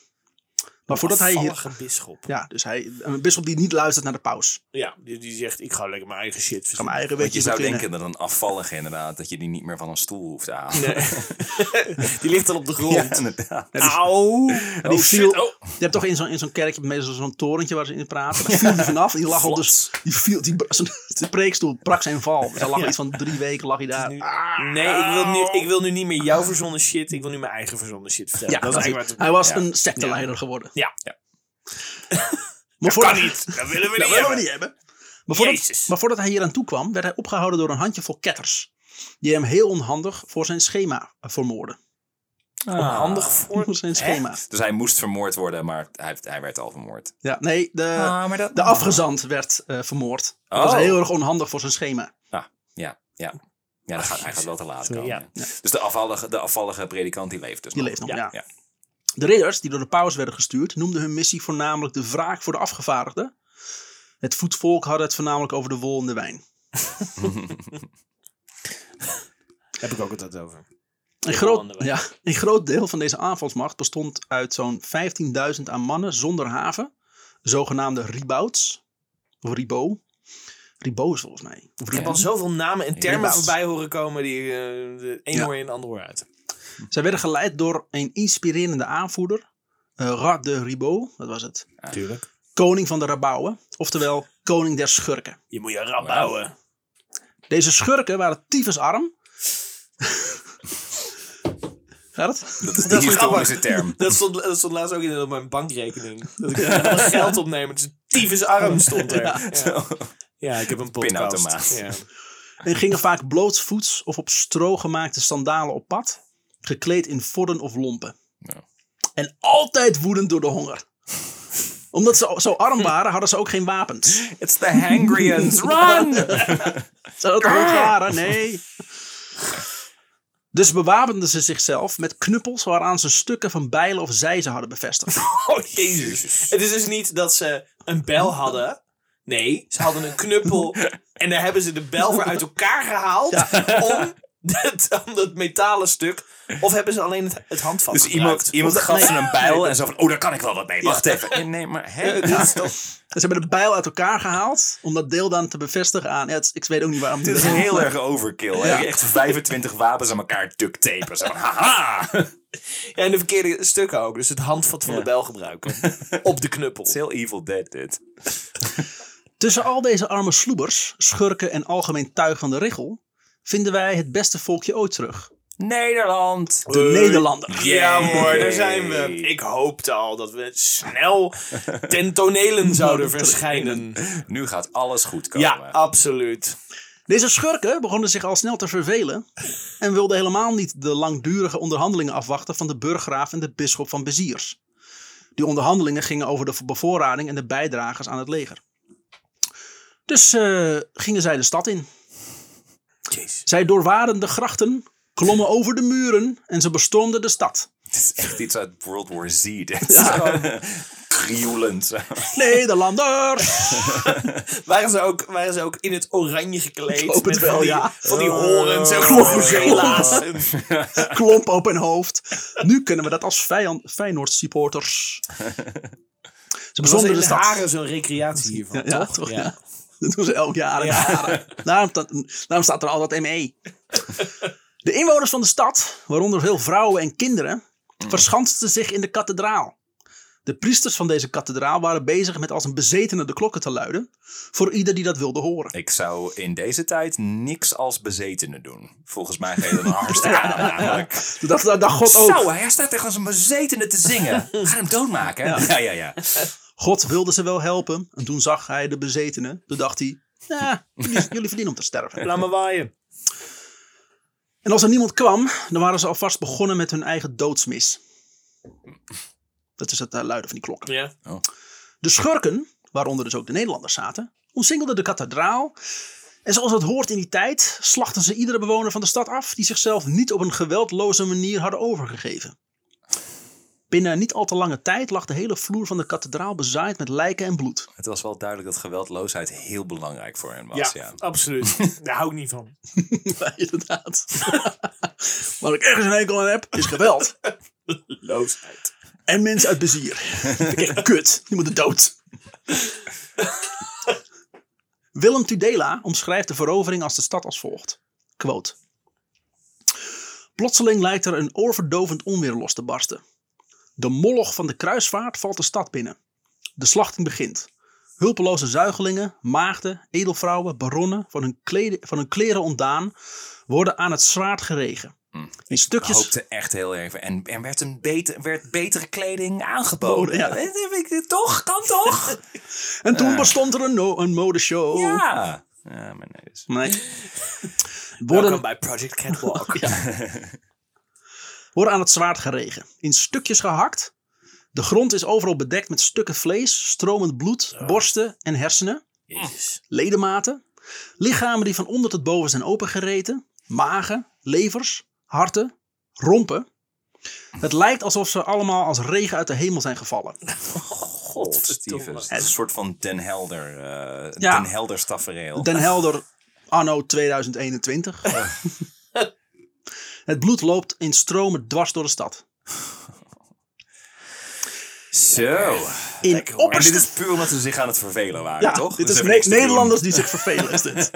Maar voordat hij hier... Afvallige bisschop. Ja, dus hij, een bisschop die niet luistert naar de paus. Ja, die, die zegt, ik ga lekker mijn eigen shit Kan verzinnen. mijn eigen Want je weetje zou beginnen. denken dat een afvallige inderdaad, dat je die niet meer van een stoel hoeft te halen. Nee. die ligt al op de Ja, grond. inderdaad. Auw. die oh, shit. viel- Oh. Je hebt toch in zo'n in zo'n kerkje meestal zo'n torentje waar ze in praten. Daar viel die vanaf. Die lag al dus... Die viel, die, zijn- zijn preekstoel brak zijn val. Dus hij lag Ja. iets van drie weken lag hij daar. Nee, ik wil, nu, ik wil nu niet meer jouw verzonnen shit. Ik wil nu mijn eigen verzonnen shit vertellen. Ja, dat is eigenlijk hij waar was ja. een secteleider geworden. Ja. Ja. Maar het voordat, Nou, kan niet. Dat willen we dat willen niet we hebben. niet hebben. Maar voordat, Jezus. maar voordat hij hier aan toe kwam, werd hij opgehouden door een handjevol ketters. Die hem heel onhandig voor zijn schema eh, vermoorden. Ah. Oh. Handig voor... Voor zijn schema. Dus hij moest vermoord worden, maar hij, hij werd al vermoord. Ja, nee, de, Ah, maar dat... de afgezant werd eh, vermoord. Dat Oh. was heel erg onhandig voor zijn schema. Ja, ja. Ja, dat gaat, hij gaat wel te laat komen. Ja. ja. Dus de afvallige, de afvallige predikant die leeft dus Die nog. leeft nog, Ja. ja. Ja. De ridders, die door de paus werden gestuurd, noemden hun missie voornamelijk de wraak voor de afgevaardigden. Het voetvolk had het voornamelijk over de wol en de wijn. Heb ik ook altijd over. Een De wol en groot, de wijn. ja, een groot deel van deze aanvalsmacht bestond uit zo'n 15.000 aan mannen zonder haven, zogenaamde ribouts, of ribo. Ribo is volgens mij. Of Ik heb ribo. al zoveel namen en termen Inderdaad. voorbij horen komen die eh, de een Ja. hoor je en de ander hoor je uit. Zij werden geleid door een inspirerende aanvoerder, eh Rad de Ribo, dat was het. Tuurlijk. Koning van de Rabouwen, oftewel koning der schurken. Je moet je rap bouwen. Deze schurken waren tyfusarm. Gaat het? Dat is de Dat is historische grappig. term. Dat stond, dat stond laatst ook in op mijn bankrekening. Dat ik allemaal geld opnemen. Het is een tyfus arm stond er. Ja, ja. Zo. ik heb een podcast. Pinautomaat. Ja. En gingen vaak blootsvoets of op stro gemaakte sandalen op pad, gekleed in vodden of lompen. Ja. En altijd woedend door de honger. Omdat ze zo arm waren, hadden ze ook geen wapens. It's the Hangrians, run! Zijn Ah. dat Hongaren? Nee. Dus bewapenden ze zichzelf met knuppels waaraan ze stukken van bijlen of zijzen hadden bevestigd. Oh, jezus. Het is dus niet dat ze een bel hadden. Nee, ze hadden een knuppel. en daar hebben ze de bel voor uit elkaar gehaald. Om, dat, om dat metalen stuk. Of hebben ze alleen het, het handvat Dus iemand, gebruikt? iemand gaf ze een bijl en zo van, oh, daar kan ik wel wat mee. Wacht even. Nee, Nee, maar hè? Dit is toch- Ze hebben de bijl uit elkaar gehaald om dat deel dan te bevestigen aan. Ja, het is- ik weet ook niet waarom. Dit is heel erg overkill. hè. Echt 25 wapens aan elkaar duct tapen. Zo van, haha! Het Ja, en de verkeerde stukken ook. Dus het handvat van de bel gebruiken. Op de knuppel. is heel Evil Dead, dit. Tussen al deze arme sloebers, schurken en algemeen tuig van de richel, vinden wij het beste volkje ooit terug. Nederland! De Nederlander. Eh, Ja hoor, daar zijn we. Ik hoopte al dat we snel ten tonelen zouden verschijnen. Nu gaat alles goed komen. Ja, absoluut. Deze schurken begonnen zich al snel te vervelen en wilden helemaal niet de langdurige onderhandelingen afwachten van de burggraaf en de bisschop van Beziers. Die onderhandelingen gingen over de bevoorrading en de bijdragers aan het leger. Dus eh, gingen zij de stad in. Jezus. Zij doorwaarden de grachten, klommen over de muren en ze bestormden de stad. Het is echt iets uit World War Z, dit. Zo. Krioelend. zo. Nederlanders! Waren ze, ook, waren ze ook in het oranje gekleed? Ik hoop het met van wel, die, ja. Van die horens en Oh. vlogela's. Klomp op hun hoofd. Nu kunnen we dat als vijand, Feyenoord supporters. Ze Zonder bestormden de de stad. haren zo'n recreatie hiervan, Ja, ja, toch? toch, ja. Dat doen ze elk jaar. en jaren. Daarom, ta- daarom staat er altijd ME. De inwoners Mm. van de stad, waaronder veel vrouwen en kinderen, verschansten zich in de kathedraal. De priesters van deze kathedraal waren bezig met als een bezetene de klokken te luiden. Voor ieder die dat wilde horen. Ik zou in deze tijd niks als bezetene doen. Volgens mij geeft het een hartstikke aan namelijk. Dat, dat, dat God ook. Zo, hij staat tegen als een bezetene te zingen. Ga hem doodmaken. Ja, ja, ja. God wilde ze wel helpen. En toen zag hij de bezetene. Toen dacht hij, ja, jullie, jullie verdienen om te sterven. Laat me waaien. En als er niemand kwam, dan waren ze alvast begonnen met hun eigen doodsmis. Dat is het eh, luiden van die klokken. Ja. De schurken, waaronder dus ook de Nederlanders zaten, omsingelden de kathedraal. En zoals het hoort in die tijd, slachten ze iedere bewoner van de stad af die zichzelf niet op een geweldloze manier hadden overgegeven. Binnen niet al te lange tijd lag de hele vloer van de kathedraal bezaaid met lijken en bloed. Het was wel duidelijk dat geweldloosheid heel belangrijk voor hen Ja, was. Ja. absoluut. Daar hou ik niet van. Ja, inderdaad. Waar ik ergens een hekel aan heb, is geweld. Loosheid. En mensen uit bezier. Vind ik echt kut. Die moeten dood. Willem Tudela omschrijft de verovering als de stad als volgt. Quote. Plotseling lijkt er een oorverdovend onweer los te barsten. De moloch van de kruisvaart valt de stad binnen. De slachting begint. Hulpeloze zuigelingen, maagden, edelvrouwen, baronnen, van hun, kleden, van hun kleren ontdaan, worden aan het zwaard geregen. In Ik stukjes hoopte echt heel erg. En er werd, een beter, werd betere kleding aangeboden. Oh, ja. Eh, eh, eh, Toch? Kan toch? En toen bestond er een, no- een modeshow. Ja. Ja, mijn neus. Nee. Welkom Worden, bij Project Catwalk. worden aan het zwaard geregen. In stukjes gehakt. De grond is overal bedekt met stukken vlees, stromend bloed, borsten en hersenen. Jezus. Ledematen. Lichamen die van onder tot boven zijn opengereten. Magen, levers, harten, rompen. Het lijkt alsof ze allemaal als regen uit de hemel zijn gevallen. God, Steven. Het is een soort van Den Helder. eh, Ja. Den Helder stafereel. Den Helder, anno 2021. Het bloed loopt in stromen dwars door de stad. Zo. In En opperste dit is puur omdat ze zich aan het vervelen waren, Ja, toch? dit Dus Ah, is even ne- niks te doen. Nederlanders die zich vervelen, is dit.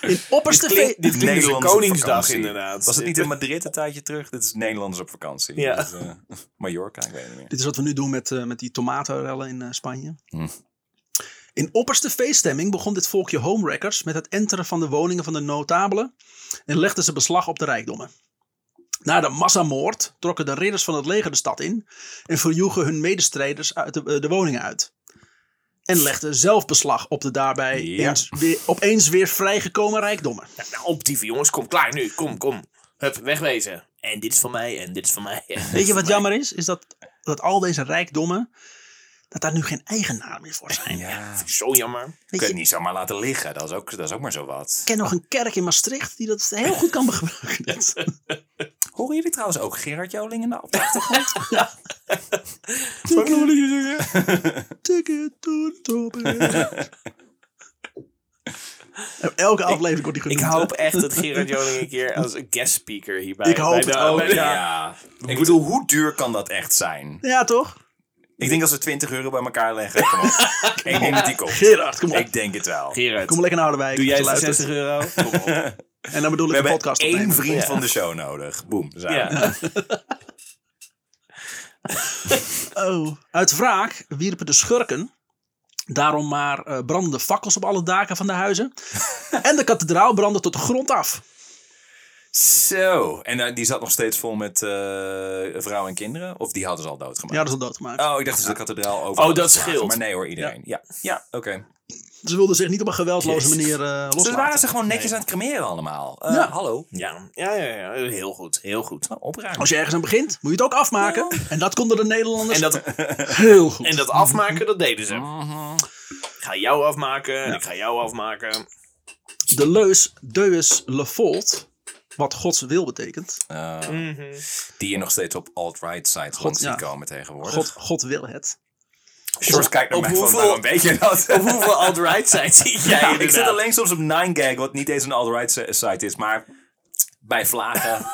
In Dit opperste klinkt, ve- dit klinkt als een Nederlanders op Koningsdag vakantie. inderdaad. Was het niet in Madrid een tijdje terug? Dit is Nederlanders op vakantie. Ja. Dat is, eh, Mallorca, ik weet het niet meer. Dit is wat we nu doen met, eh, met die tomatenrellen in eh, Spanje. Hm. In opperste feeststemming begon dit volkje homewreckers met het enteren van de woningen van de notabelen en legden ze beslag op de rijkdommen. Na de massamoord trokken de ridders van het leger de stad in en verjoegen hun medestrijders uit de, eh, de woningen uit. En legden zelf beslag op de daarbij Ja. eens weer, opeens weer vrijgekomen rijkdommen. Nou, op TV jongens, kom klaar nu. Kom, kom. Hup, wegwezen. En dit is van mij, en dit is van mij. Weet je wat jammer is? Is dat, dat al deze rijkdommen, dat daar nu geen eigenaar meer voor zijn. Ja. Zo jammer. Je Weet kunt het je, ik niet zomaar laten liggen. Dat is ook, dat is ook maar zo wat. ken nog een kerk in Maastricht die dat heel goed kan gebruiken. Horen jullie trouwens ook Gerard Joling in de achtergrond? Ticket to the top. En Elke aflevering wordt die Ik genoemd. hoop echt dat Gerard Joling een keer als een guest speaker hierbij... Ik hoop bij het de- ook, bij de- ja. Ik bedoel, hoe duur kan dat echt zijn? Ja, toch? Ik denk als we 20 euro bij elkaar leggen. Kom op. Ik denk dat die komt. Gerard, kom op. Ik denk het wel. Gerard, Kom lekker naar Harderwijk. doe jij als je de luistert. 60 euro? Kom op. En dan bedoel We ik de hebben podcast één opnemen. vriend Ja. van de show nodig. Boom. daar zijn we. Ja. Oh. Uit wraak wierpen de schurken daarom maar eh, brandende fakkels op alle daken van de huizen. en de kathedraal brandde tot de grond af. Zo. En eh, die zat nog steeds vol met eh, vrouwen en kinderen? Of die hadden ze al doodgemaakt? Ja, dat is al doodgemaakt. Oh, ik dacht dat ze de kathedraal over. Oh, dat hadden scheelt. Maar nee hoor, iedereen. Ja, ja. oké. Ze wilden zich niet op een geweldloze Jezus. manier eh Dus loslaten. waren ze gewoon netjes aan het cremeren allemaal. Eh, Ja. Hallo. Ja, ja, ja, ja, heel goed, heel goed. Nou, opruimen. Als je ergens aan begint, moet je het ook afmaken. En dat konden de Nederlanders En dat, heel goed. en dat afmaken, dat deden ze. Mhm. Ik ga jou afmaken, en ik ga jou afmaken. De leus Deus le Volt, wat Gods wil betekent. Eh, Mhm. die je nog steeds op alt-right sites rond ziet ja. komen tegenwoordig. God, God wil het. George kijkt naar Op mij hoeveel- van, waarom weet je dat? Op hoeveel alt-right zijn zie jij ja, ik inderdaad? zit alleen soms op 9gag, wat niet eens een alt-right si- site is, maar bij vlagen.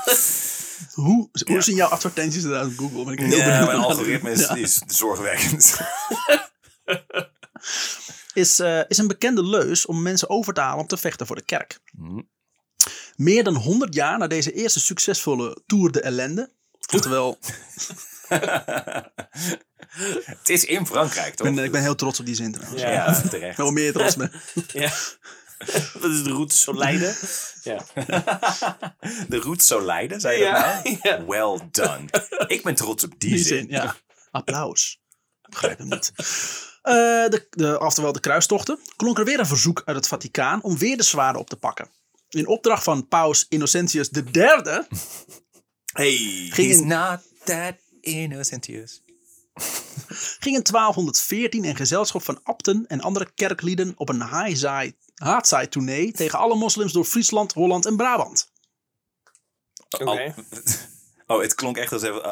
Hoe, hoe zien jouw advertenties eruit op Google? Ben ik heel ja, benieuwd mijn naar. algoritme is, Ja. is zorgwekkend. Is, eh, is een bekende leus om mensen over te halen om te vechten voor de kerk. Hm. Meer dan 100 jaar na deze eerste succesvolle Tour de Ellende. Oftewel, het is in Frankrijk, toch? Ik ben, eh, ik ben heel trots op die zin trouwens. Ja. Ja. ja, terecht. Wel meer trots ben. Ja. Dat is de route zo leiden. Ja. De route zo leiden, zei je Ja. dat nou? Ja. Well done. Ik ben trots op die, Die zin. zin, ja. Applaus. Ik Begrijp hem niet. Eh, de, de, oftewel de kruistochten, klonk er weer een verzoek uit het Vaticaan om weer de zwaarden op te pakken. In opdracht van paus Innocentius III Hey, Ging he's in- not that innocentius. ging in 1214 in gezelschap van abten en andere kerklieden op een haaizaai- haatzaai tournee tegen alle moslims door Friesland, Holland en Brabant. Oké. Oh, het klonk echt alsof,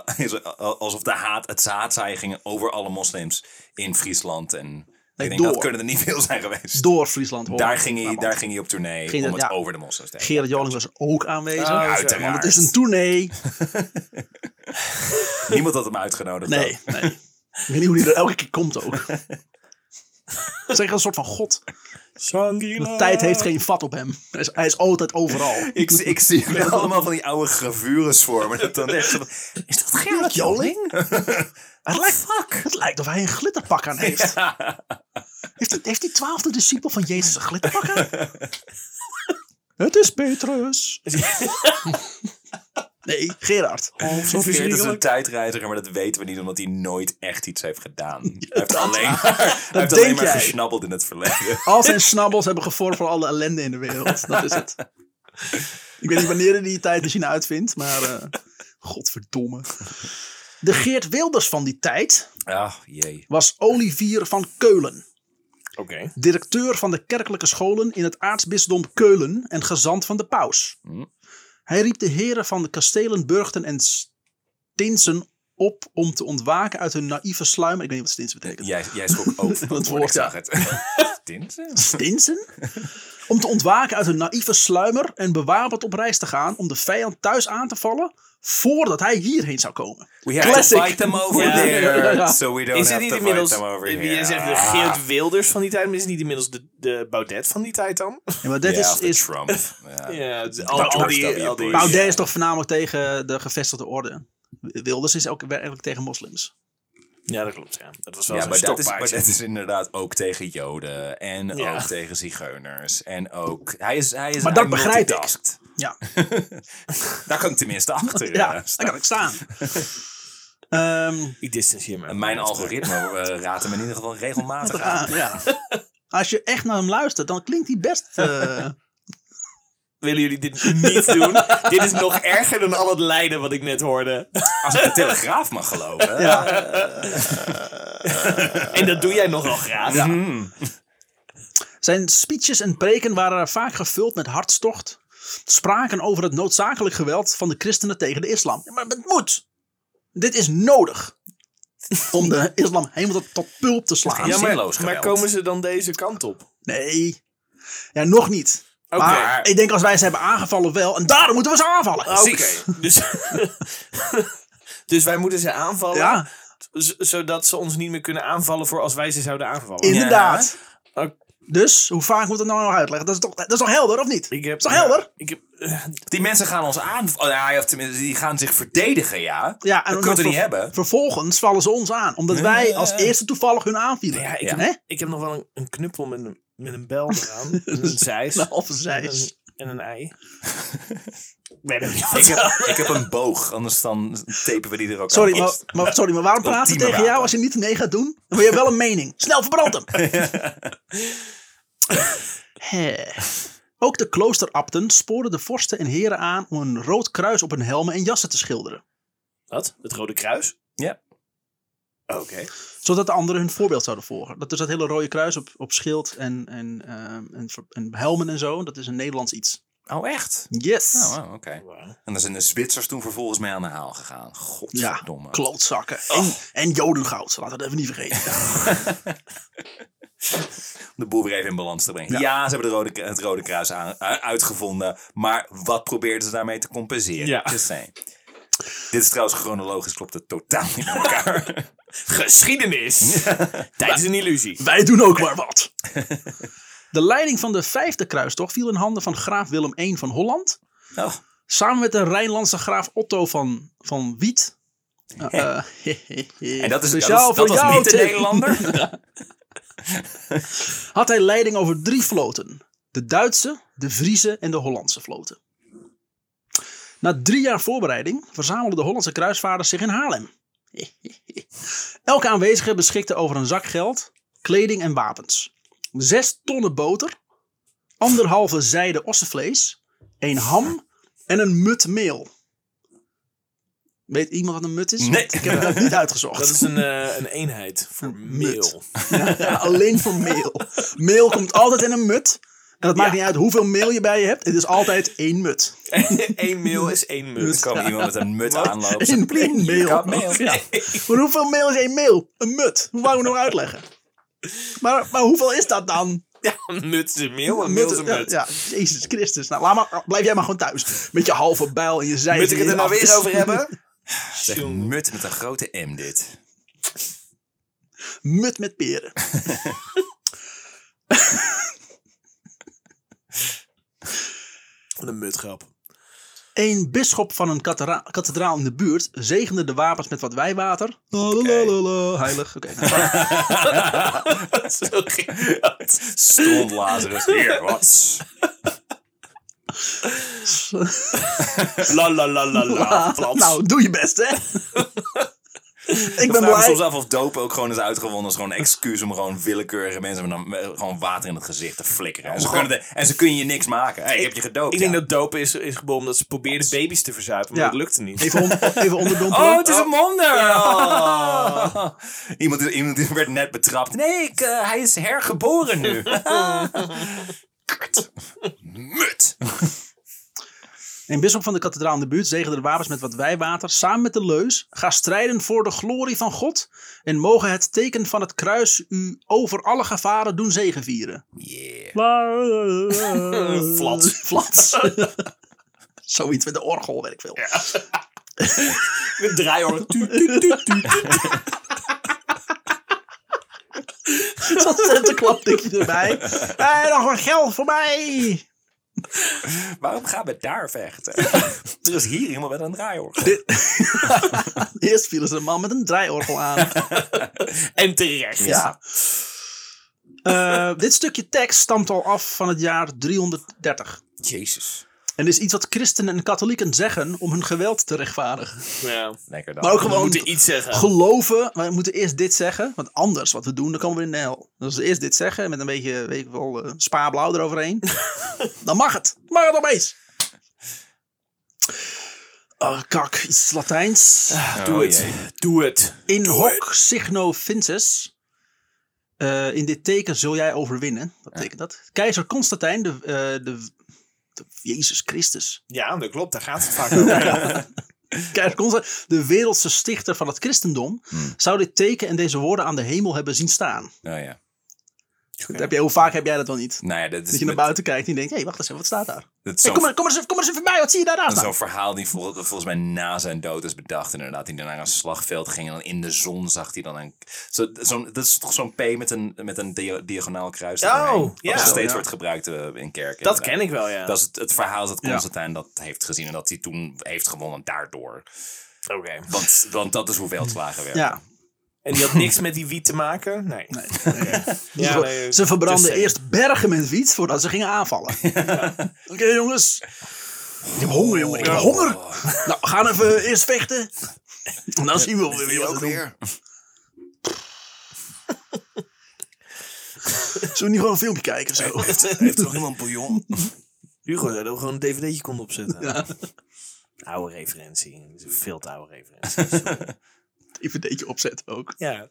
alsof de haat, het haatzaai ging over alle moslims in Friesland. En ik denk, door. dat kunnen er niet veel zijn geweest. Door Friesland, Holland Daar ging, hij, Brabant. daar ging hij op tournee Ging om dat- het ja. over de moslims te hebben. Gerard Joling was ook aanwezig. Ah, want Uiteraard. het is een tournee. Niemand had hem uitgenodigd. Nee, nee. Ik weet niet hoe die er elke keer komt ook. Het is echt een soort van god. De Shangri-La. tijd heeft geen vat op hem. Hij is, hij is altijd overal. Ik, ik zie wel allemaal van die oude gravures voor me. Dat dan echt zo van, is dat Gerard Joling? Het lijkt, het lijkt of hij een glitterpak aan heeft. Heeft, die, heeft die twaalfde discipel van Jezus een glitterpak aan? het is Petrus. nee, Gerard. Zo Zo Geert is een verschrikkelijk. tijdreiziger, maar dat weten we niet omdat hij nooit echt iets heeft gedaan. Hij heeft alleen maar, hij heeft denk alleen maar jij. gesnabbeld in het verleden. Al zijn snabbels hebben gevormd voor alle ellende in de wereld. Dat is het. Ik weet niet wanneer hij die tijdmachine uitvindt, maar... eh, godverdomme. De Geert Wilders van die tijd Ah, jee. was Olivier van Keulen. Oké. directeur van de kerkelijke scholen in het aartsbisdom Keulen en gezant van de paus. Hm. Hij riep de heren van de kastelen, burchten en stinsen op om te ontwaken uit hun naïeve sluim. Ik weet niet wat stinsen betekent. Jij, jij schrok ook van het woord, ik zag het. Stinsen? Stinsen? om te ontwaken uit hun naïeve sluimer en bewapend op reis te gaan om de vijand thuis aan te vallen voordat hij hierheen zou komen. We have Classic. to fight them over Ja. there, Ja. so we don't Is het have niet to fight inmiddels... them over here. Ah, Je zegt de Geert Wilders van die tijd, maar is het niet inmiddels de, de Baudet van die tijd dan? Ja, maar dat Ja, is, of de is, Trump. Ja. Ja, het- al, al George die... W. Al die Bush. Baudet is toch voornamelijk tegen de gevestigde orde. Wilders is ook eigenlijk tegen moslims. Ja, dat klopt. Ja. Dat was wel Ja, zo'n maar dat, is, maar stokpaardje. dat is inderdaad ook tegen Joden en Ja. ook tegen Zigeuners. En ook. Hij is, hij is Maar dat begrijp ik. multitaskt. Ja. Daar kan ik tenminste achter. Ja, eh, daar staan. kan ik staan. Ehm, Ik distancieer me. En Mijn algoritme eh, raadt hem in ieder geval regelmatig aan. Ah, ja. Als je echt naar hem luistert, dan klinkt hij best. eh, Willen jullie dit niet doen? dit is nog erger dan al het lijden wat ik net hoorde. Als ik de telegraaf mag geloven. ja. en dat doe jij nogal graag. Mm. Zijn speeches en preken waren vaak gevuld met hartstocht. Spraken over het noodzakelijk geweld van de christenen tegen de islam. Ja, Maar het moet! Dit is nodig. Om de islam helemaal tot, tot pulp te slaan. Ja, maar, Zinloos maar geweld. komen ze dan deze kant op? Nee. Ja, nog niet. Oké. Maar ik denk als wij ze hebben aangevallen wel. En daarom moeten we ze aanvallen. Oké. Precies. Dus, dus wij moeten ze aanvallen. Ja, z- Zodat ze ons niet meer kunnen aanvallen voor als wij ze zouden aanvallen. inderdaad. Oké. Dus, hoe vaak moet het nou nog uitleggen? Dat is toch, dat is toch helder, of niet? Ik heb, is toch helder? Ik heb, eh, Die mensen gaan ons aan. oh, ja, of tenminste, die gaan zich verdedigen, ja. Ja, en dat omdat kunnen we niet ver- hebben. Vervolgens vallen ze ons aan, omdat wij ja, als ja. eerste toevallig hun aanvielen. ja, ik, Ja. Hè? ik heb nog wel een, een knuppel met een, met een bel eraan. en een zeis. Nou, of En zij. een, en een ei. Ik weet het niet. Ik heb, ik heb een boog, anders dan tapen we die er ook Sorry aan maar, vast. maar, sorry, maar waarom praten ze Ultieme tegen jou wapen. als je niet mee gaat doen? Dan wil je wel een mening. Snel verbrand hem! Hè. Ook de kloosterabten spoorden de vorsten en heren aan om een rood kruis op hun helmen en jassen te schilderen. Wat? Het Rode Kruis? Ja. Oké. Zodat de anderen hun voorbeeld zouden volgen. Dat is dat hele rode kruis op, op schild en, en, ehm, en, ver- en helmen en zo. Dat is een Nederlands iets. Oh, echt? Yes! Oh, wow, oké. Wauw. En daar zijn de Zwitsers toen vervolgens mee aan de haal gegaan. Ja, Godverdomme. klootzakken. En, en jodengoud. Laten we dat even niet vergeten. de boel weer even in balans te brengen. Ja, ze hebben de rode, het Rode Kruis aan, u- uitgevonden. Maar wat probeerden ze daarmee te compenseren? Ja. Just saying. Dit is trouwens chronologisch, klopt het totaal niet met elkaar. Geschiedenis! Tijd is een illusie. Wij doen ook maar wat. De leiding van de vijfde kruistocht viel in handen van graaf Willem I van Holland. Oh, Samen met de Rijnlandse graaf Otto van, van Wiet. Eh, En dat, Speciaal is, dat, is, dat voor was jou, niet de Tim. Nederlander. had hij leiding over drie vloten. De Duitse, de Friese en de Hollandse vloten. Na drie jaar voorbereiding verzamelden de Hollandse kruisvaarders zich in Haarlem. Elke aanwezige beschikte over een zak geld, kleding en wapens. Zes tonnen boter, anderhalve zijde ossenvlees, een ham en een mut meel. Weet iemand wat een mut is? Nee. Want Ik heb het niet uitgezocht. Dat is een, eh, een eenheid voor Mut. meel. Ja, alleen voor meel. Meel komt altijd in een mut. En dat maakt niet uit hoeveel meel je bij je hebt. Het is altijd één mut. Eén meel is één Er mut. Dus kwam iemand met een mut aanlopen. Eén plien meel. kap meel. Ja. Maar hoeveel meel is één meel? Een mut. Hoe wou ik nog uitleggen? Maar, maar hoeveel is dat dan? Een mut is een meel, een meel is een ja, mut. ja, Jezus Christus. Nou, laat maar, blijf jij maar gewoon thuis. Met je halve bijl en je zij. Moet ik het er nou weer over hebben? Zeg, Jongen. mut met een grote M dit. Mut met peren. Wat een mutgrap. Een bisschop van een kathera- kathedraal in de buurt zegende de wapens met wat wijwater. Lalalala, Heilig. Oké. nou, Zo ging dat. Stond Lazarus. Hier, wat? La la la la la. Plat. Nou, doe je best, hè? ik Ik ben vraag me blij. soms af of dopen ook gewoon is uitgewonnen als gewoon een excuus om gewoon willekeurige mensen met een- eh, gewoon water in het gezicht te flikkeren. En ze, Oh. kunnen de- en ze kun je niks maken. Hey, ik heb je gedoopt. Ik denk ja. dat dopen is, is geboren omdat ze probeerden baby's te verzuipen, maar Ja. dat lukte niet. Even, on, even onderdompelen. Oh, het is een wonder! Oh. Iemand, is- iemand is- werd net betrapt. Nee, ik, eh, hij is hergeboren nu. Kut. Mut! Een bisschop van de kathedraal in de buurt zegende de wapens met wat wijwater. Samen met de leus. Ga strijden voor de glorie van God. En mogen het teken van het kruis u over alle gevaren doen zegevieren. Yeah. Flats. Flats. Zoiets met de orgel, weet ik veel. Een draaiorgel. Tu, tu, tu, tu. Zo'n centenklapdikje erbij. En nog wat geld voor mij. Waarom gaan we daar vechten? er is hier iemand met een draaiorgel. Eerst vielen ze een man met een draaiorgel aan. En terecht. Ja. Eh, dit stukje tekst stamt al af van het jaar 330. Jezus. En is iets wat christenen en katholieken zeggen om hun geweld te rechtvaardigen. Ja. Lekker dan. Maar ook We gewoon moeten iets zeggen. geloven, maar we moeten eerst dit zeggen. Want anders, wat we doen, dan komen we in de hel. Dus als we eerst dit zeggen, met een beetje, weet ik wel, eh, spaarblauw eroverheen. dan mag het. Mag het opeens. Oh, kak, iets Latijns. Doe Oh, het. jee. Doe het. In hoc signo vinces. eh, in dit teken zul jij overwinnen. Wat betekent dat? Keizer Constantijn, de, eh, de, de- Jezus Christus. Ja, dat klopt. Daar gaat het vaak over. Keizer Constantijn, de wereldse stichter van het christendom, Hmm. zou dit teken en deze woorden aan de hemel hebben zien staan. Oh ja. Dat heb jij, hoe vaak heb jij dat wel niet? Nou ja, dat is, Dat je naar dat buiten kijkt en je denkt, hé, wacht eens even, wat staat daar? is Hey, zo'n- kom, maar, kom, maar eens, even- kom maar eens even bij, wat zie je daarnaast? Zo'n Nou? verhaal die vol- volgens mij na zijn dood is bedacht. Inderdaad, die naar een slagveld ging en dan in de zon zag hij dan een... Zo, zo'n- dat is toch zo'n P met een, met een dia- diagonaal kruis Oh, eromheen, ja. Wat nog steeds Ja. wordt gebruikt eh, in kerken. Dat inderdaad. ken ik wel, ja. Dat is het, het verhaal dat Ja. Constantijn dat heeft gezien en dat hij toen heeft gewonnen daardoor. Oké. Want, want dat is hoe veldslagen werken. Ja, En die had niks met die wiet te maken? Nee. Ja, Dus nee, dus ze just verbranden saying. eerst bergen met wiet voordat ze gingen aanvallen. Oké, jongens. Ik heb honger, jongen. Ik heb honger. oh, Nou, we gaan even eerst vechten. En dan zien we wel weer wat we doen. Zullen we niet gewoon een filmpje kijken of zo? Heeft toch iemand bouillon? Hugo zei dat we gewoon een dvd'tje konden opzetten. Oude referentie. Dat is een Veel te oude referentie. DVD'tje opzetten ook. ja.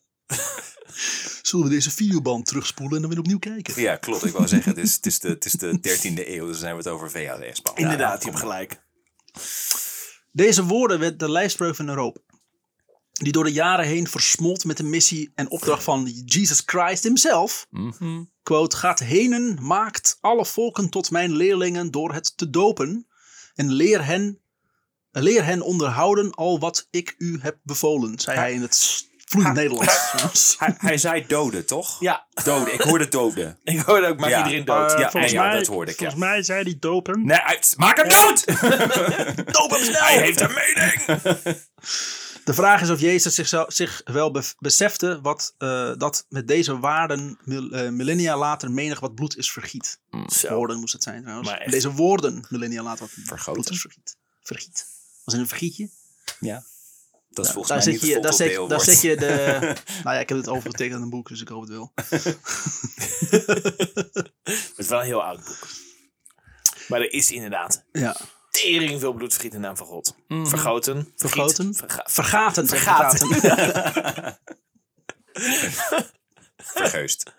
Zullen we deze videoband terugspoelen en dan weer opnieuw kijken? Ja, klopt. Ik wou zeggen, het is, het is, de, het is de 13e eeuw, dus dan hebben we het over VHS. -band. Inderdaad, je Ja, hebt gelijk. Deze woorden werd de lijfspreuk van Europa. Die door de jaren heen versmolt met de missie en opdracht van Jesus Christ himself. Mhm. Quote, gaat henen, maakt alle volken tot mijn leerlingen door het te dopen. En leer hen, leer hen onderhouden al wat ik u heb bevolen, zei hij in het vloeiend Nederlands. Hij, hij zei doden, toch? Ja. Doden. Ik hoorde doden. Ik hoorde ook, maak Ja. iedereen dood. Eh, ja. volgens ja, mij- dat hoorde ik, ja. volgens mij zei hij dopen. Nee, hij- maak hem dood! Dopen snel! Hij heeft een mening! De vraag is of Jezus zich, zo- zich wel bef- besefte wat, eh, dat met deze waarden mil- eh, millennia later menig wat bloed is vergiet. Zo. Woorden moest het zijn trouwens. Maar echt. Met Deze woorden millennia later wat Vergoten. bloed is vergiet. Vergiet. Was in een vergietje. Dat is Nou, volgens mij niet het daar, zet, voltooid daar zet deelwoord. je de... nou ja, ik heb het overgetekend in een boek, dus ik hoop het wel. Het is wel een heel oud boek. Maar er is inderdaad Ja. tering veel bloedvergiet in de naam van God. Mhm. Vergoten. vergiet, Vergoten. verga- Vergaten. zeg ik, Vergaten. vergaten. Vergeust.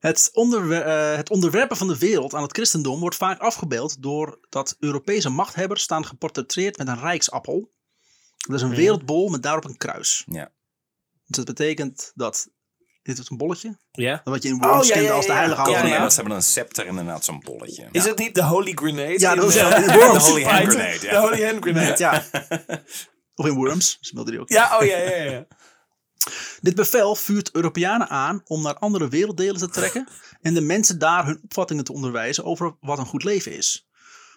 Het, onderwer- eh, het onderwerpen van de wereld aan het christendom wordt vaak afgebeeld door dat Europese machthebbers staan geportretteerd met een rijksappel. Dat is een Ja. wereldbol met daarop een kruis. Ja. Dus dat betekent dat dit is een bolletje, Ja. wat je in ja, Worms Oh, ja, kende ja, als de ja. heilige Ja, Ja, oude nee, ja. maar ze hebben dan een scepter en inderdaad zo'n bolletje. Is het niet de Holy Grenade? Ja, in, dat was eh, wel- in Worms. de Holy Hand Python? Grenade. ja. De Holy Hand Grenade. Ja, Ja. Of in Worms, speelde die ook. oh ja, ja, ja. Dit bevel vuurt Europeanen aan om naar andere werelddelen te trekken en de mensen daar hun opvattingen te onderwijzen over wat een goed leven is.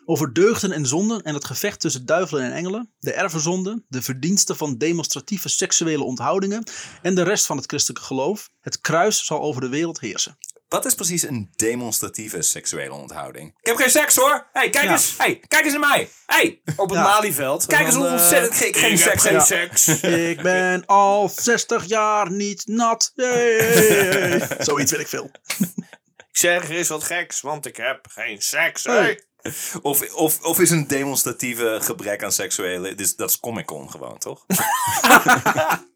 Over deugden en zonden en het gevecht tussen duivelen en engelen, de erfenzonde, de verdiensten van demonstratieve seksuele onthoudingen en de rest van het christelijke geloof. Het kruis zal over de wereld heersen. Wat is precies een demonstratieve seksuele onthouding? Ik heb geen seks hoor! hey, kijk Ja. eens! hey, kijk eens naar mij! hey, Op het Ja. Malieveld. kijk eens Dan, hoe eh, ontzettend ik geen ik heb seks geen heb. seks. Ik ben al 60 jaar niet nat. Yay. Zoiets weet ik veel. Ik zeg er is wat geks, want ik heb geen seks. Hey. hey. Of, of, of is een demonstratieve gebrek aan seksuele... Dus dat is Comic-Con gewoon, toch?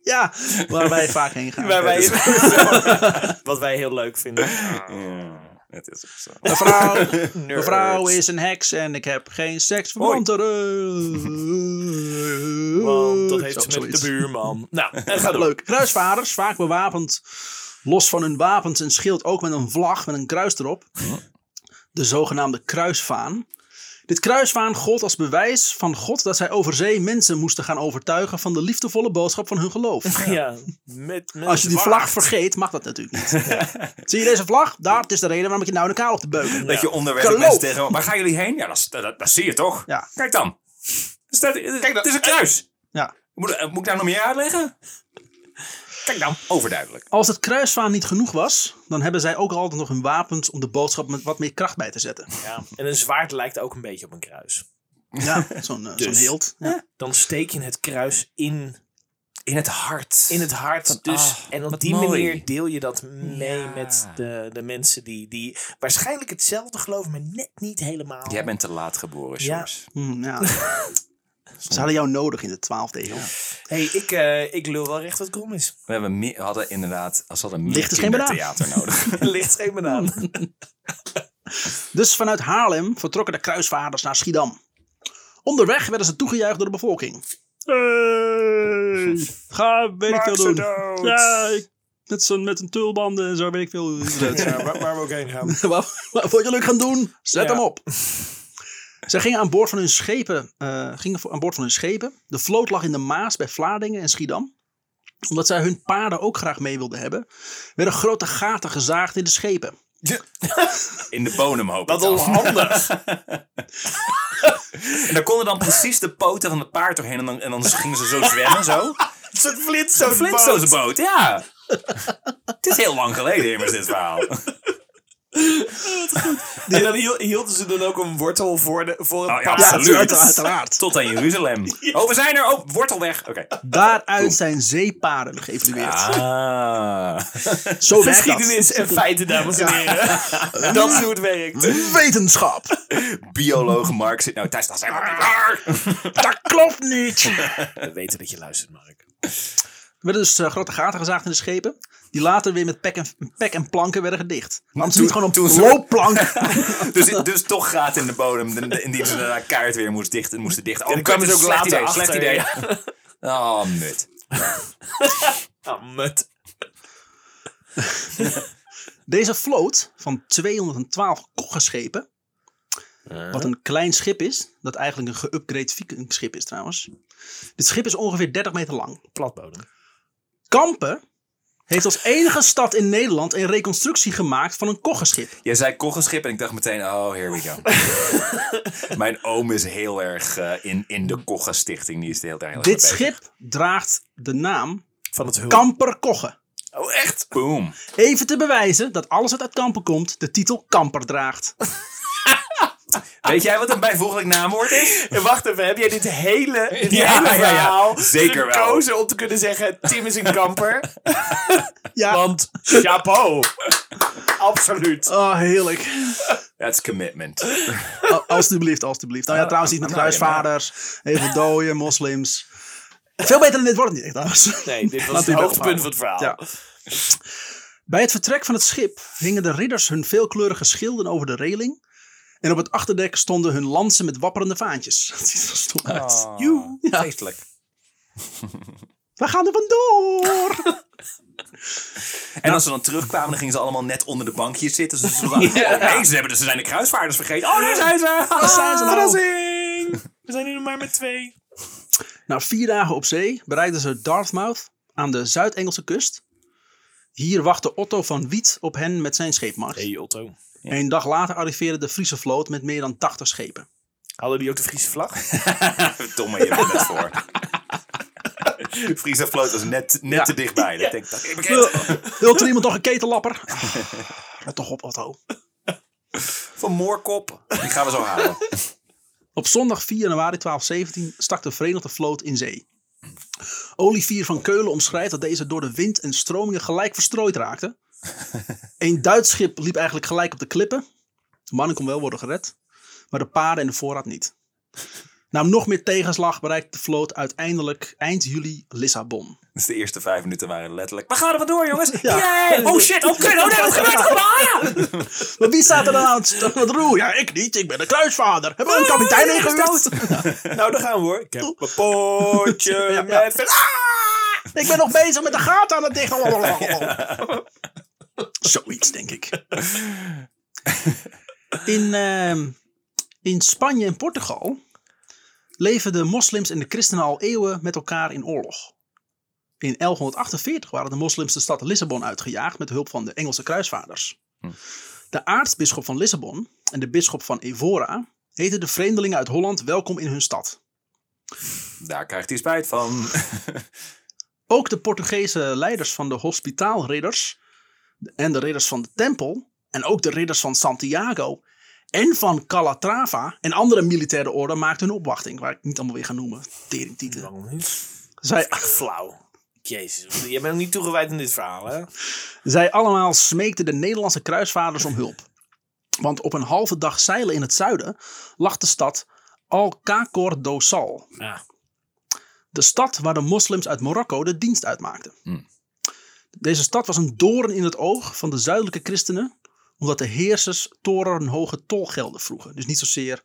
Ja, waar wij vaak heen gaan. Waar wij, is wat wij heel leuk vinden. Ja, het is ook zo. Mevrouw, Nerds. Mevrouw is een heks en ik heb geen seks eh, verwant eraan. Want dat heeft Zo- ze met zoiets. de buurman. Nou, en ga door. Leuk. Kruisvaders, vaak bewapend, los van hun wapens en schild, ook met een vlag met een kruis erop. De zogenaamde kruisvaan. Dit kruisvaan gold als bewijs van God dat zij over zee mensen moesten gaan overtuigen van de liefdevolle boodschap van hun geloof. Ja, met, met Als je die zwart. vlag vergeet, mag dat natuurlijk niet. Zie je deze vlag? Daar, het is de reden waarom ik je nou in elkaar op te beuken. Dat je onderweg Geloof. mensen tegen... Waar gaan jullie heen? Ja, dat, dat, dat zie je toch? Ja. Kijk dan! Is dat, dan. Het is een kruis! Ja. Moet, eh, moet ik daar nog meer uitleggen? Kijk nou. dan, overduidelijk. Als het kruisvaan niet genoeg was, dan hebben zij ook altijd nog hun wapens om de boodschap met wat meer kracht bij te zetten. Ja, en een zwaard lijkt ook een beetje op een kruis. Ja, zo'n eh, Dus. zo'n hilt. Ja. Dan steek je het kruis in, In het hart. in het hart. Dus, ah, en op wat die mooi. manier deel je dat mee Ja. met de, de mensen die, die waarschijnlijk hetzelfde geloven, maar net niet helemaal. Jij bent te laat geboren, Ja. Sjors. Hm, ja. Ze hadden jou nodig in de twaalfde eeuw. hey, ik, eh, ik lul wel recht wat krom is. We hebben meer, hadden inderdaad, als hadden meer Licht is geen banaan. kindertheater nodig. Ligt geen banaan. Dus vanuit Haarlem vertrokken de kruisvaarders naar Schiedam. Onderweg werden ze toegejuicht door de bevolking. Hey, ga weet ik veel doen. Ja, ik- met, zo'n- met een tulbanden en zo weet ik veel. hoe het heet. eh, waar, waar we ook heen gaan. wat, wat jullie gaan doen, zet Ja. hem op. Zij gingen aan boord van hun schepen. eh, gingen voor- aan boord van hun schepen. De vloot lag in de Maas bij Vlaardingen en Schiedam. Omdat zij hun paarden ook graag mee wilden hebben, werden grote gaten gezaagd in de schepen. In de bodem hoop ik Wat dan. onhandig. En daar konden dan precies de poten van het paard doorheen. En dan, en dan gingen ze zo zwemmen, zo. Het is een Een Flintstones boot, ja. Het is heel lang geleden immers, dit verhaal. Oh, En dan hiel- hielden ze dan ook een wortel voor, de, voor het Oh, ja, pad. absoluut. uiteraard, uiteraard. Tot aan Jeruzalem. Oh, we zijn er. Oh, wortel weg. Oké. Daaruit Oh. zijn zeepaarden geëvalueerd. Ah. Zo werkt dat. Geschiedenis en feiten, dames en heren. Dat is hoe het werkt. Wetenschap. Bioloog Mark zit nou thuis. Dat is helemaal niet waar. Dat klopt niet. We weten dat je luistert, Mark. Er werden dus eh, grote gaten gezaagd in de schepen. Die later weer met pek en, pek en planken werden gedicht. Want ze toen- niet gewoon toen een ze- loopplank. Dus, dus toch gaat in de bodem. En die ze daarna kaart weer moest dichten, moesten dichten. Oh, Ja, daar kwamen kut, ze dit is ook een later slecht idee. Slecht idee. Oh, mut. Ah, mut. Deze vloot van 212 koggeschepen, wat een klein schip is, dat eigenlijk een geüpgrade vikingschip is trouwens. Dit schip is ongeveer 30 meter lang. Platbodem. Kampen heeft als enige stad in Nederland een reconstructie gemaakt van een koggenschip. Jij zei koggenschip en ik dacht meteen, oh, here we go. Mijn oom is heel erg eh, in, in de koggenstichting. Die is de hele tijd heel erg Dit mee bezig. schip draagt de naam Van het hulp. Kamper Kogge. Oh, echt? Boom. Even te bewijzen dat alles wat uit Kampen komt de titel Kamper draagt. Weet jij wat een bijvoeglijk naamwoord is? En wacht even, heb jij dit hele, dit Ja, hele ja, ja. verhaal Zeker wel. gekozen om te kunnen zeggen... Tim is een kamper, Ja, want chapeau. Absoluut. oh, heerlijk. That's commitment. Oh, Alsjeblieft, alsjeblieft. Nou ja, trouwens iets met Nou, ja, maar- kruisvaders, heel veel doden, moslims. Veel beter dan dit wordt het niet, trouwens. Nee, dit was Laat het die hoogtepunt wegvallen. van het verhaal. Ah, Ja. Bij het vertrek van het schip hingen de ridders hun veelkleurige schilden over de reling. En op het achterdek stonden hun lansen met wapperende vaantjes. Dat ziet er stom uit. Ah. Joe. Ah. Ja. Feestelijk. We gaan er vandoor! En als ze dan terugkwamen, dan gingen ze allemaal net onder de bankjes zitten. Dus ze waren, oh, nee, ze, hebben, ze zijn de kruisvaarders vergeten. Oh, daar zijn ze! Daar zijn ze nou. Verrassing! We zijn hier nog maar met twee. Na Nou, vier dagen op zee bereikten ze Dartmouth aan de Zuid-Engelse kust. Hier wachtte Otto van Wiet op hen met zijn scheepmacht. Hey Otto. Een dag later arriveerde de Friese vloot met meer dan 80 schepen. Hadden die ook de Friese vlag? Domme, je bent net voor. Friese vloot was net, net Ja. te dichtbij. Dat denk ik, dat ik bekend. Wil er iemand nog een ketenlapper? Let toch op, Otto. Van Moorkop. Die gaan we zo halen. Op zondag 4 januari 1217 stak de Verenigde Vloot in zee. Olivier van Keulen omschrijft dat deze door de wind en stromingen gelijk verstrooid raakten. Een Duits schip liep eigenlijk gelijk op de klippen. De mannen kon wel worden gered, maar de paarden en de voorraad niet. Na nog meer tegenslag bereikte de vloot uiteindelijk eind juli Lissabon. Dus de eerste vijf minuten waren letterlijk. We gaan er vandoor, jongens. Ja. Yay! Oh shit, oh kut, oh nee, wat gebeurt er? Ah, ja. Maar wie staat er dan aan het st- aan het roer? Ja, ik niet. Ik ben de kruisvader. Hebben we een kapitein ingehuurd? Nou, daar gaan we hoor. Ik heb Mijn pootje met vet. Ah! Ik ben nog bezig met de gaten aan het dichten. Zoiets, denk ik. In, ehm, in Spanje en Portugal leven de moslims en de christenen al eeuwen met elkaar in oorlog. In 1148 waren de moslims de stad Lissabon uitgejaagd met hulp van de Engelse kruisvaarders. De aartsbisschop van Lissabon en de bisschop van Evora heten de vreemdelingen uit Holland welkom in hun stad. Daar krijgt hij spijt van. Ook de Portugese leiders van de hospitaalridders en de ridders van de tempel en ook de ridders van Santiago en van Calatrava en andere militaire orden maakten hun opwachting, waar ik niet allemaal weer ga noemen. Teringtieten. Waarom niet? Zij, Ah, Flauw. Jezus, jij bent ook niet toegewijd in dit verhaal, hè? zij allemaal smeekten de Nederlandse kruisvaarders om hulp. Want op een halve dag zeilen in het zuiden lag de stad Alcacor do Sal. Ja. De stad waar de moslims uit Marokko de dienst uitmaakten. Hmm. Deze stad was een doorn in het oog van de zuidelijke christenen, omdat de heersers torenhoge tolgelden vroegen. Dus niet zozeer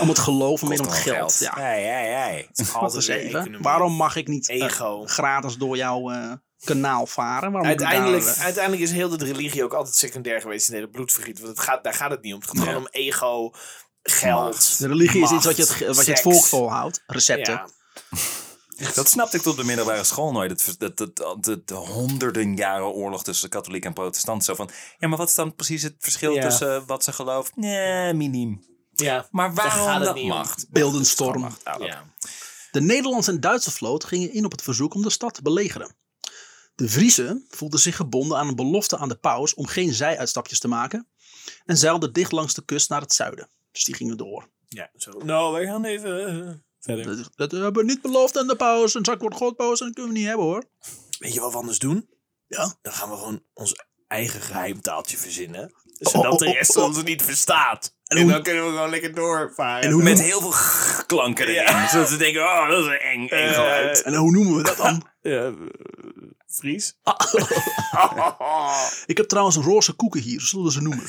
om het geloof, maar meer om het Kost geld. gewoon Ja, Hey, hey, hey. wat Altijd is weer even. economie. Waarom mag ik niet eh, Ego. gratis door jouw eh, kanaal varen? Waarom moet ik Uiteindelijk, daar, eh, uiteindelijk is heel de religie ook altijd secundair geweest in het hele bloedvergiet. Want het gaat, daar gaat het niet om. Het gaat Ja. gewoon om ego, geld. de religie macht, is iets wat je het, ge- wat je het seks. volk volhoudt. Recepten. Ja. Dat snapte ik op de middelbare school nooit. Het ver- Dat, dat, dat, de honderden jaren oorlog tussen katholiek en protestant. Zo van, ja, maar wat is dan precies het verschil Ja. tussen eh, wat ze gelooft? Nee, miniem. ja. Maar waarom gaat het dat niet om. macht? Beeldenstorm. Ah, oké. Ja. De Nederlandse en Duitse vloot gingen in op het verzoek om de stad te belegeren. De Vriezen voelden zich gebonden aan een belofte aan de paus om geen zijuitstapjes te maken en zeilden dicht langs de kust naar het zuiden. Dus die gingen door. ja zo. Nou, wij gaan even eh, verder. Dat, dat hebben we niet beloofd aan de paus. Een zak wordt God paus en dat kunnen we niet hebben hoor. Weet je wat we anders doen? Ja. Dan gaan we gewoon ons eigen geheimtaaltje verzinnen. Zodat Oh, oh, de rest oh, oh. ons niet verstaat. En, hoe- dan kunnen we gewoon lekker doorvaren. En hoe- Met heel veel g- klanken erin. Ja. Zodat ze denken, oh, dat is een eng, eng Eh, geluid. En hoe noemen we dat dan? Ja, eh, Fries? Ik heb trouwens roze koeken hier, zo zullen we ze noemen.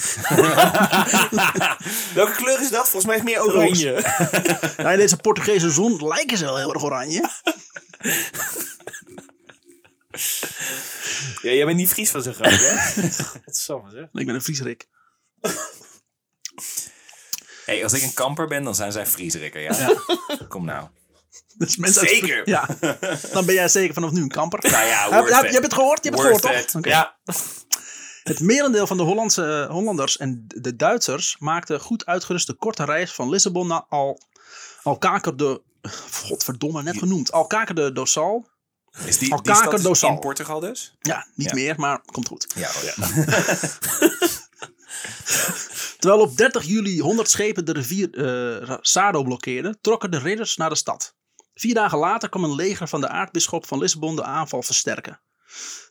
Welke kleur is dat? Volgens mij is het meer oranje. Nou, in deze Portugese zon lijken ze wel heel erg oranje. Ja, jij bent niet Fries van zo'n grap, hè? Wat samen, zeg. Ik ben een Vriesrik. Hey, als ik een kamper ben, dan zijn zij Friesrikken, ja. Kom nou. Dus mensen uit- Zeker. Ja, dan ben jij zeker vanaf nu een kamper. Nou ja, Heb, worth heb- it. je hebt het gehoord, je hebt het Worth gehoord, it. toch? Oké. Ja, Het merendeel van de Hollandse, eh, Hollanders en de Duitsers maakte goed uitgerust de korte reis van Lissabon naar Al, Alkaker de... Godverdomme, net genoemd. Alkaker de Dorsal. Is die, die Alcacer stad Dosal. in Portugal dus? Ja, niet Ja. meer, maar komt goed. Ja, oh ja. Terwijl op 30 juli 100 schepen de rivier eh, Ra- Sado blokkeerden, trokken de ridders naar de stad. Vier dagen later kwam een leger van de aartsbisschop van Lissabon de aanval versterken.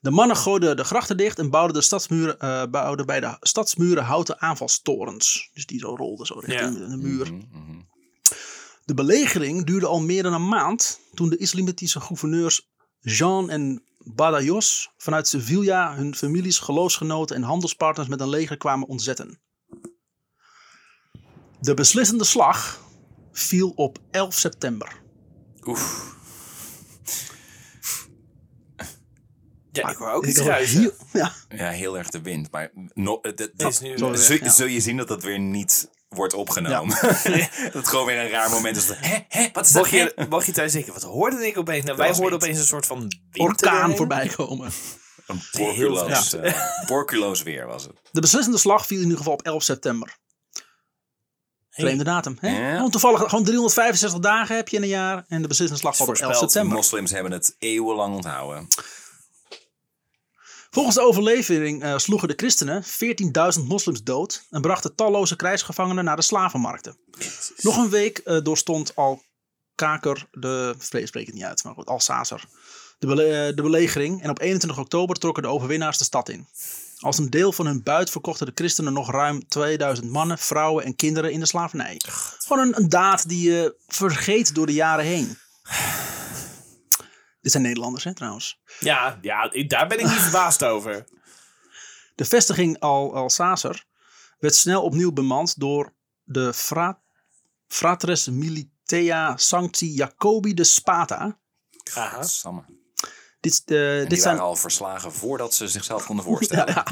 De mannen gooiden de grachten dicht en bouwden, de stadsmuren, eh, bouwden bij de stadsmuren houten aanvalstorens. Dus die zo rolden zo richting de muur. Mhm, mhm. De belegering duurde al meer dan een maand toen de islamitische gouverneurs Jean en Badajoz vanuit Sevilla hun families, geloofsgenoten en handelspartners met een leger kwamen ontzetten. De beslissende slag viel op 11 september. Oef. Ja, ik hoor ook Ik iets dacht, ruisen. hier- ja, Ja, heel erg de wind. Maar no, eh, dat- Dit dat- is nu... Sorry. zul, ja. zul je zien dat dat weer niet wordt opgenomen. dat het gewoon weer een raar moment is. Hé, hé, wat is dat? Mag je, mag je thuis denken, wat hoorde ik opeens? Nou, wij was hoorden wind. opeens een soort van wind orkaan erheen. voorbij komen. Een borculoos, Ja. eh, borculoos weer was het. De beslissende slag viel in ieder geval op 11 september. Vreemde datum. Hè? Ja. Gewoon toevallig, gewoon 365 dagen heb je in een jaar. En de beslissende slag valt op 11 Voorspeld. september. Moslims hebben het eeuwenlang onthouden. Volgens de overlevering eh, sloegen de christenen 14.000 moslims dood en brachten talloze krijgsgevangenen naar de slavenmarkten. Nog een week eh, doorstond Al-Kaker, de vrees spreek het niet uit, maar goed, Al-Sazer, de, bele- eh, de belegering en op 21 oktober trokken de overwinnaars de stad in. Als een deel van hun buit verkochten de christenen nog ruim 2000 mannen, vrouwen en kinderen in de slavernij. Gewoon een, een daad die je vergeet door de jaren heen. Dit zijn Nederlanders, hè, trouwens. Ja, ja, ik- daar ben ik niet verbaasd over. De vestiging Al Alsacer werd snel opnieuw bemand door de fra Fratres Militea Sancti Jacobi de Spata. Aha. Samme. Dit, eh, En dit die zijn. waren al verslagen voordat ze zichzelf konden voorstellen.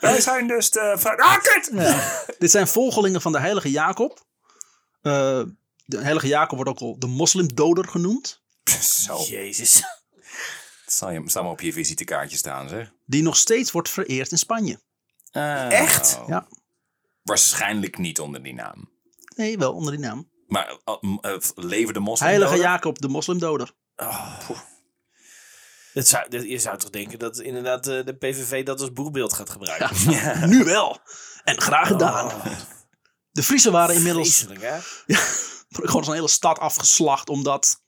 Wij zijn dus de... ver- Ah, kut! Ja. dit zijn volgelingen van de heilige Jacob. Eh, de heilige Jacob wordt ook al de moslimdoder genoemd. Zo, Oh. Jezus. het zal je zal maar op je visitekaartje staan, zeg. Die nog steeds wordt vereerd in Spanje. Ah. Oh. Echt? Ja. Waarschijnlijk niet onder die naam. Nee, wel onder die naam. Maar eh, m- eh, leven de moslims? Heilige doden? Oh, Jacob, de moslimdoder. Dat zou, dat, je zou toch denken dat inderdaad eh, de, de PVV dat als boegbeeld gaat gebruiken? Oh, Ja. Nu wel. En graag gedaan. Oh. De Friese waren inmiddels Vreselijk, hè? wordt gewoon zo'n hele stad afgeslacht omdat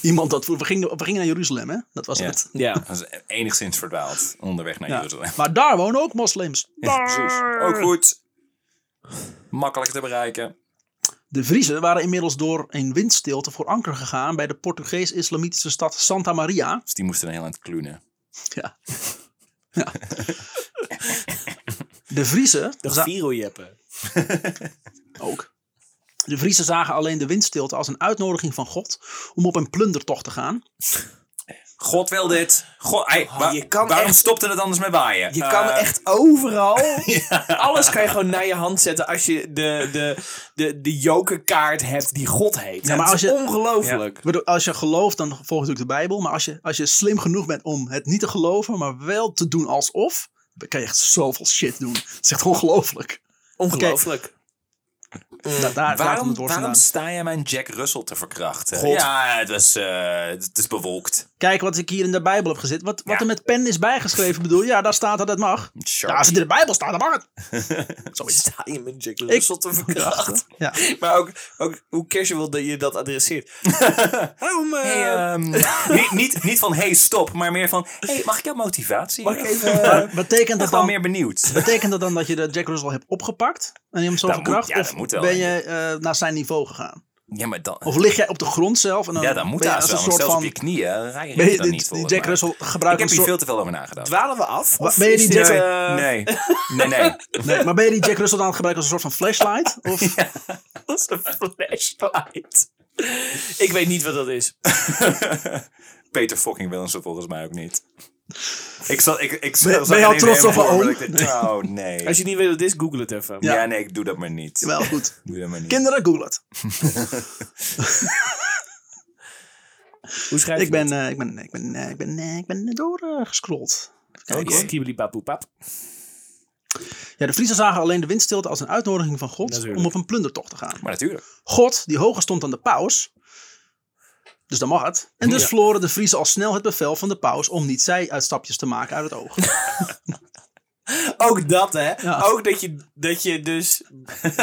iemand dat we gingen, we gingen naar Jeruzalem hè dat was Ja. het Ja. Dat is enigszins verdwaald onderweg naar Ja. Jeruzalem. maar daar wonen ook moslims Precies. Ook goed. Makkelijk te bereiken. de Vriezen waren inmiddels door een windstilte voor anker gegaan bij de Portugees-islamitische stad Santa Maria Dus die moesten een heel eind klunen. ja, ja. de Vriezen De za- Viro-jeppen. ook de Vriezen zagen alleen de windstilte als een uitnodiging van God om op een plundertocht te gaan God wil dit. God, ei, Oh, wa- je kan waarom echt- stopte het anders met waaien? Je Eh, kan echt overal, Ja. alles kan je gewoon naar je hand zetten als je de, de, de, de jokerkaart hebt die God heet. Ja, maar maar als als je- ongelooflijk. Ik bedoel, als je gelooft, dan volg je natuurlijk de Bijbel. Maar als je, als je slim genoeg bent om het niet te geloven, maar wel te doen alsof, dan kan je echt zoveel shit doen. Het is echt ongelooflijk. Ongelooflijk. Da- daar gaat het Mm. Waarom, woord waarom vandaan. sta je mijn Jack Russell te verkrachten? God. Ja, het, was, eh, het is bewolkt. Kijk wat ik hier in de Bijbel heb gezet. Wat, wat Ja. er met pen is bijgeschreven, bedoel je? Ja, daar staat dat het mag. Sharp. Ja, als het in de Bijbel staat, dan mag het. Sta je met Jack Russell te verkrachten? Ja. Maar ook, ook hoe casual dat je dat adresseert. Waarom... eh, Hey, ehm, niet, niet, niet van hey stop, maar meer van hey, mag ik jouw motivatie? Mag ik even... Maar betekent, ben dat gewoon dan, meer benieuwd. betekent dat dan dat je de Jack Russell hebt opgepakt en je hem zo Dat verkracht? moet- ja, of dat moet wel, ben je eh, naar zijn niveau gegaan? Ja, maar dan, Of lig jij op de grond zelf? En dan ja, dan moet ben je dat als wel. een want soort zelfs van... op je knieën rij je Ben je dan die, niet die volgens Jack mij. Russell Ik gebruikt heb een hier soort... veel te veel over nagedacht. Dwalen we af? Wa- Of ben je is die dit, Jack- eh, Nee, nee, nee. Nee, maar ben je die Jack Russell dan aan het gebruiken als een soort van flashlight? Of Dat is een flashlight. Ik weet niet wat dat is. Peter fucking Willemsen volgens mij ook niet. Ik zal, ik, ik Ben- zal, ben je al trots op al mijn oom? Oh, nee. Als je niet weet wat het is, google het even. ja. nee, ik doe dat maar niet. Wel goed. Doe dat maar niet. Kinderen, google het. Hoe schrijf je Ik ben, dat? eh, ik ben, ik ben, eh, ik ben, eh, ik ben doorgescrolld. Oké. Skibidi-bapoepap. Ja, de Friesen zagen alleen de windstilte als een uitnodiging van God Natuurlijk. om op een plundertocht te gaan. Maar natuurlijk. God, die hoger stond dan de paus, dus dan mag het. En dus Ja. verloren de Friesen al snel het bevel van de paus om niet zij uitstapjes te maken uit het oog. Ook dat, hè? Ja. Ook dat je, dat je dus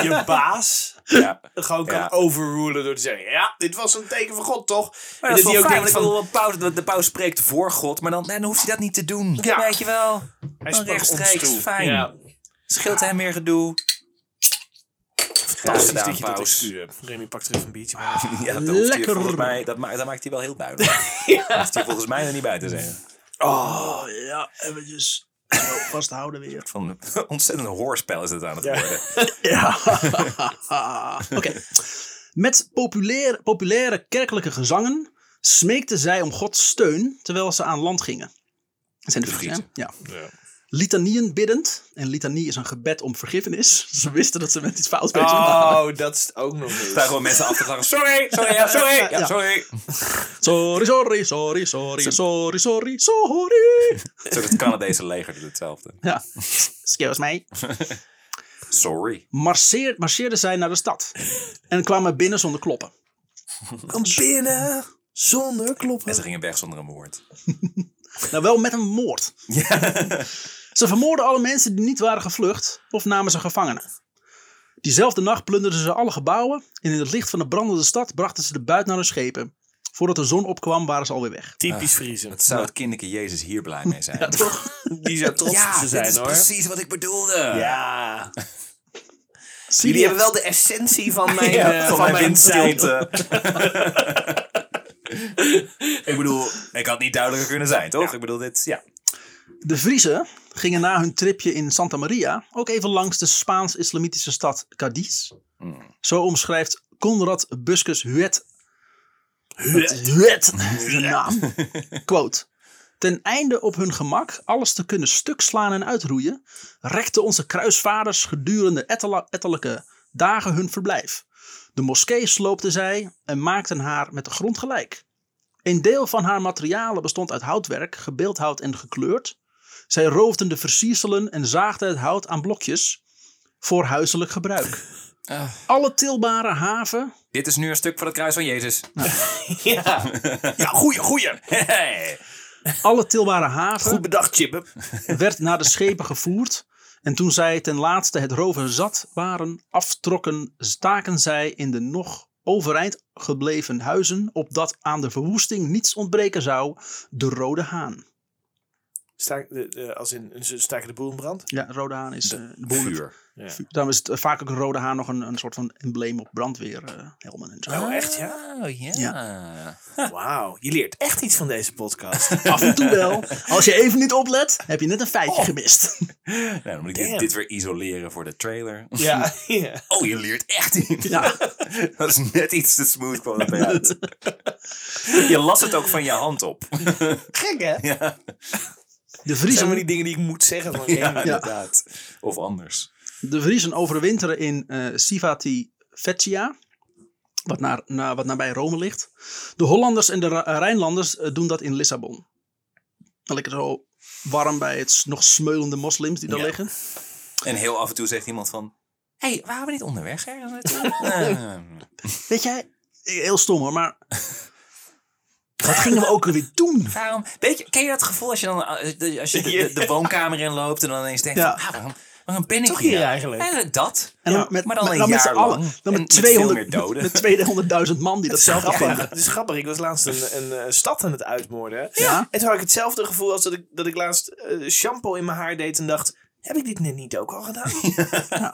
je baas Ja. gewoon kan Ja. overrulen door te zeggen: Ja, dit was een teken van God, toch? En Maar dat is wel hij fijn, denkt want ik bedoel, want paus, de- de paus spreekt voor God, maar dan, nee, dan hoeft hij dat niet te doen. Ja. Weet je wel. Hij Dan sprak ons rechtstreeks, toe. fijn. Ja, Scheelt hem meer gedoe. fantastisch gedaan, dat je dat Paus. excuus. Remy pakt er even een biertje bij. Ja, dat, hoeft hij Lekker. volgens mij, dat, ma- dat maakt hij wel heel duidelijk. Dat hoeft hij volgens mij er niet bij te zijn. Oh, ja, eventjes zo vasthouden weer. Van, ontzettend hoorspel is het aan het Ja. worden. Ja. Oké. Met populaire, populaire kerkelijke gezangen smeekten zij om Gods steun terwijl ze aan land gingen. Dat zijn de De Friesen. hè? Friesen. Ja. Litanieën biddend. En litanie is een gebed om vergiffenis. Ze wisten dat ze met iets fout bezig waren. Oh, dat is het ook nog Er staan eens. gewoon mensen af te gaan. Sorry, sorry, ja, sorry, ja, Ja. sorry. Sorry, sorry, sorry, sorry, sorry, sorry, sorry. Zo, het Canadese leger doet hetzelfde. Ja, excuse mij. Sorry. Marceer, marcheerden zij naar de stad. En kwamen binnen zonder kloppen. Kom binnen zonder En kloppen. ze gingen weg zonder een woord. Nou, wel met een moord. Ze vermoorden alle mensen die niet waren gevlucht of namen ze gevangenen. Diezelfde nacht plunderden ze alle gebouwen en in het licht van de brandende stad brachten ze de buit naar hun schepen. Voordat de zon opkwam waren ze alweer weg. Typisch Friesen. Wat zou het kinderke Jezus hier blij mee zijn? Die zou trots op ze dit zijn, is hoor. precies wat ik bedoelde. Ja. Syrië- Jullie hebben wel de essentie van mijn, Ja, eh, van mijn tijd. windstilte. ik bedoel, ik had niet duidelijker kunnen zijn, toch? Ik bedoel, dit, ja. De Vriezen gingen na hun tripje in Santa Maria ook even langs de Spaans-islamitische stad Cadiz. Zo omschrijft Conrad Buscus Huet. Huet. Huet. is een naam. Quote. Ten einde op hun gemak alles te kunnen stuk slaan en uitroeien, rekten onze kruisvaders gedurende ettela- ettelijke dagen hun verblijf. De moskee sloopten zij en maakten haar met de grond gelijk. Een deel van haar materialen bestond uit houtwerk, gebeeldhouwd en gekleurd. Zij roofden de versierselen en zaagden het hout aan blokjes voor huiselijk gebruik. Ah. Alle tilbare haven. Dit is nu een stuk voor het kruis van Jezus. Ja. ja, goeie, goeie. Hey. Alle tilbare haven. Goed bedacht, Chip. werd naar de schepen gevoerd. En toen zij ten laatste het roven zat waren, aftrokken, staken zij in de nog overeind gebleven huizen, opdat aan de verwoesting niets ontbreken zou, de Rode Haan. Sta, eh, eh, als in, ze staken de boel in brand? Ja, Rode Haan is eh, de boel- Vuur. Ja. Daarom is het eh, vaak ook een Rode Haan nog een, een soort van embleem op brandweerhelmen en zo. Oh, echt, ja? Oh, ja. Wauw, je leert echt iets van deze podcast. Af en toe wel. Als je even niet oplet, heb je net een feitje Oh. gemist. Nou, dan moet ik dit, Damn. dit weer isoleren voor de trailer. ja. ja. Oh, je leert echt iets. Ja. Dat is net iets te smooth kwam het bij uit. Je las het ook van je hand op. Gek, hè? Ja, De Die zijn Vriezen maar die dingen die ik moet zeggen. Van, ja, inderdaad. Of anders. De Vriezen overwinteren in eh, Civati Vetia, wat, naar, na- wat nabij Rome ligt. De Hollanders en de Ra- Rijnlanders eh, doen dat in Lissabon. Dan lekker zo warm bij het s- nog smeulende moslims die daar Ja. liggen. En heel af en toe zegt iemand van... Hé, hey, waren we niet onderweg ergens naartoe? Eh, Weet jij, eh, heel stom hoor, maar wat gingen we ook weer doen? Waarom? Weet je, ken je dat gevoel als je dan eh, de- als je de, de, de woonkamer in loopt en dan ineens denkt: Ja. van, ah, waarom, waarom ben ik Toch hier, hier eigenlijk? Eh, dat. En Ja, maar dan een met jaar z'n allen. lang. Dan En met met veel meer 200 met doden. 200.000 man die datzelfde Grappig. vinden. Het is grappig, ik was laatst een, een eh, stad aan het uitmoorden. Ja. En toen had ik hetzelfde gevoel als dat ik, dat ik laatst eh, shampoo in mijn haar deed en dacht... Heb ik dit net niet ook al gedaan?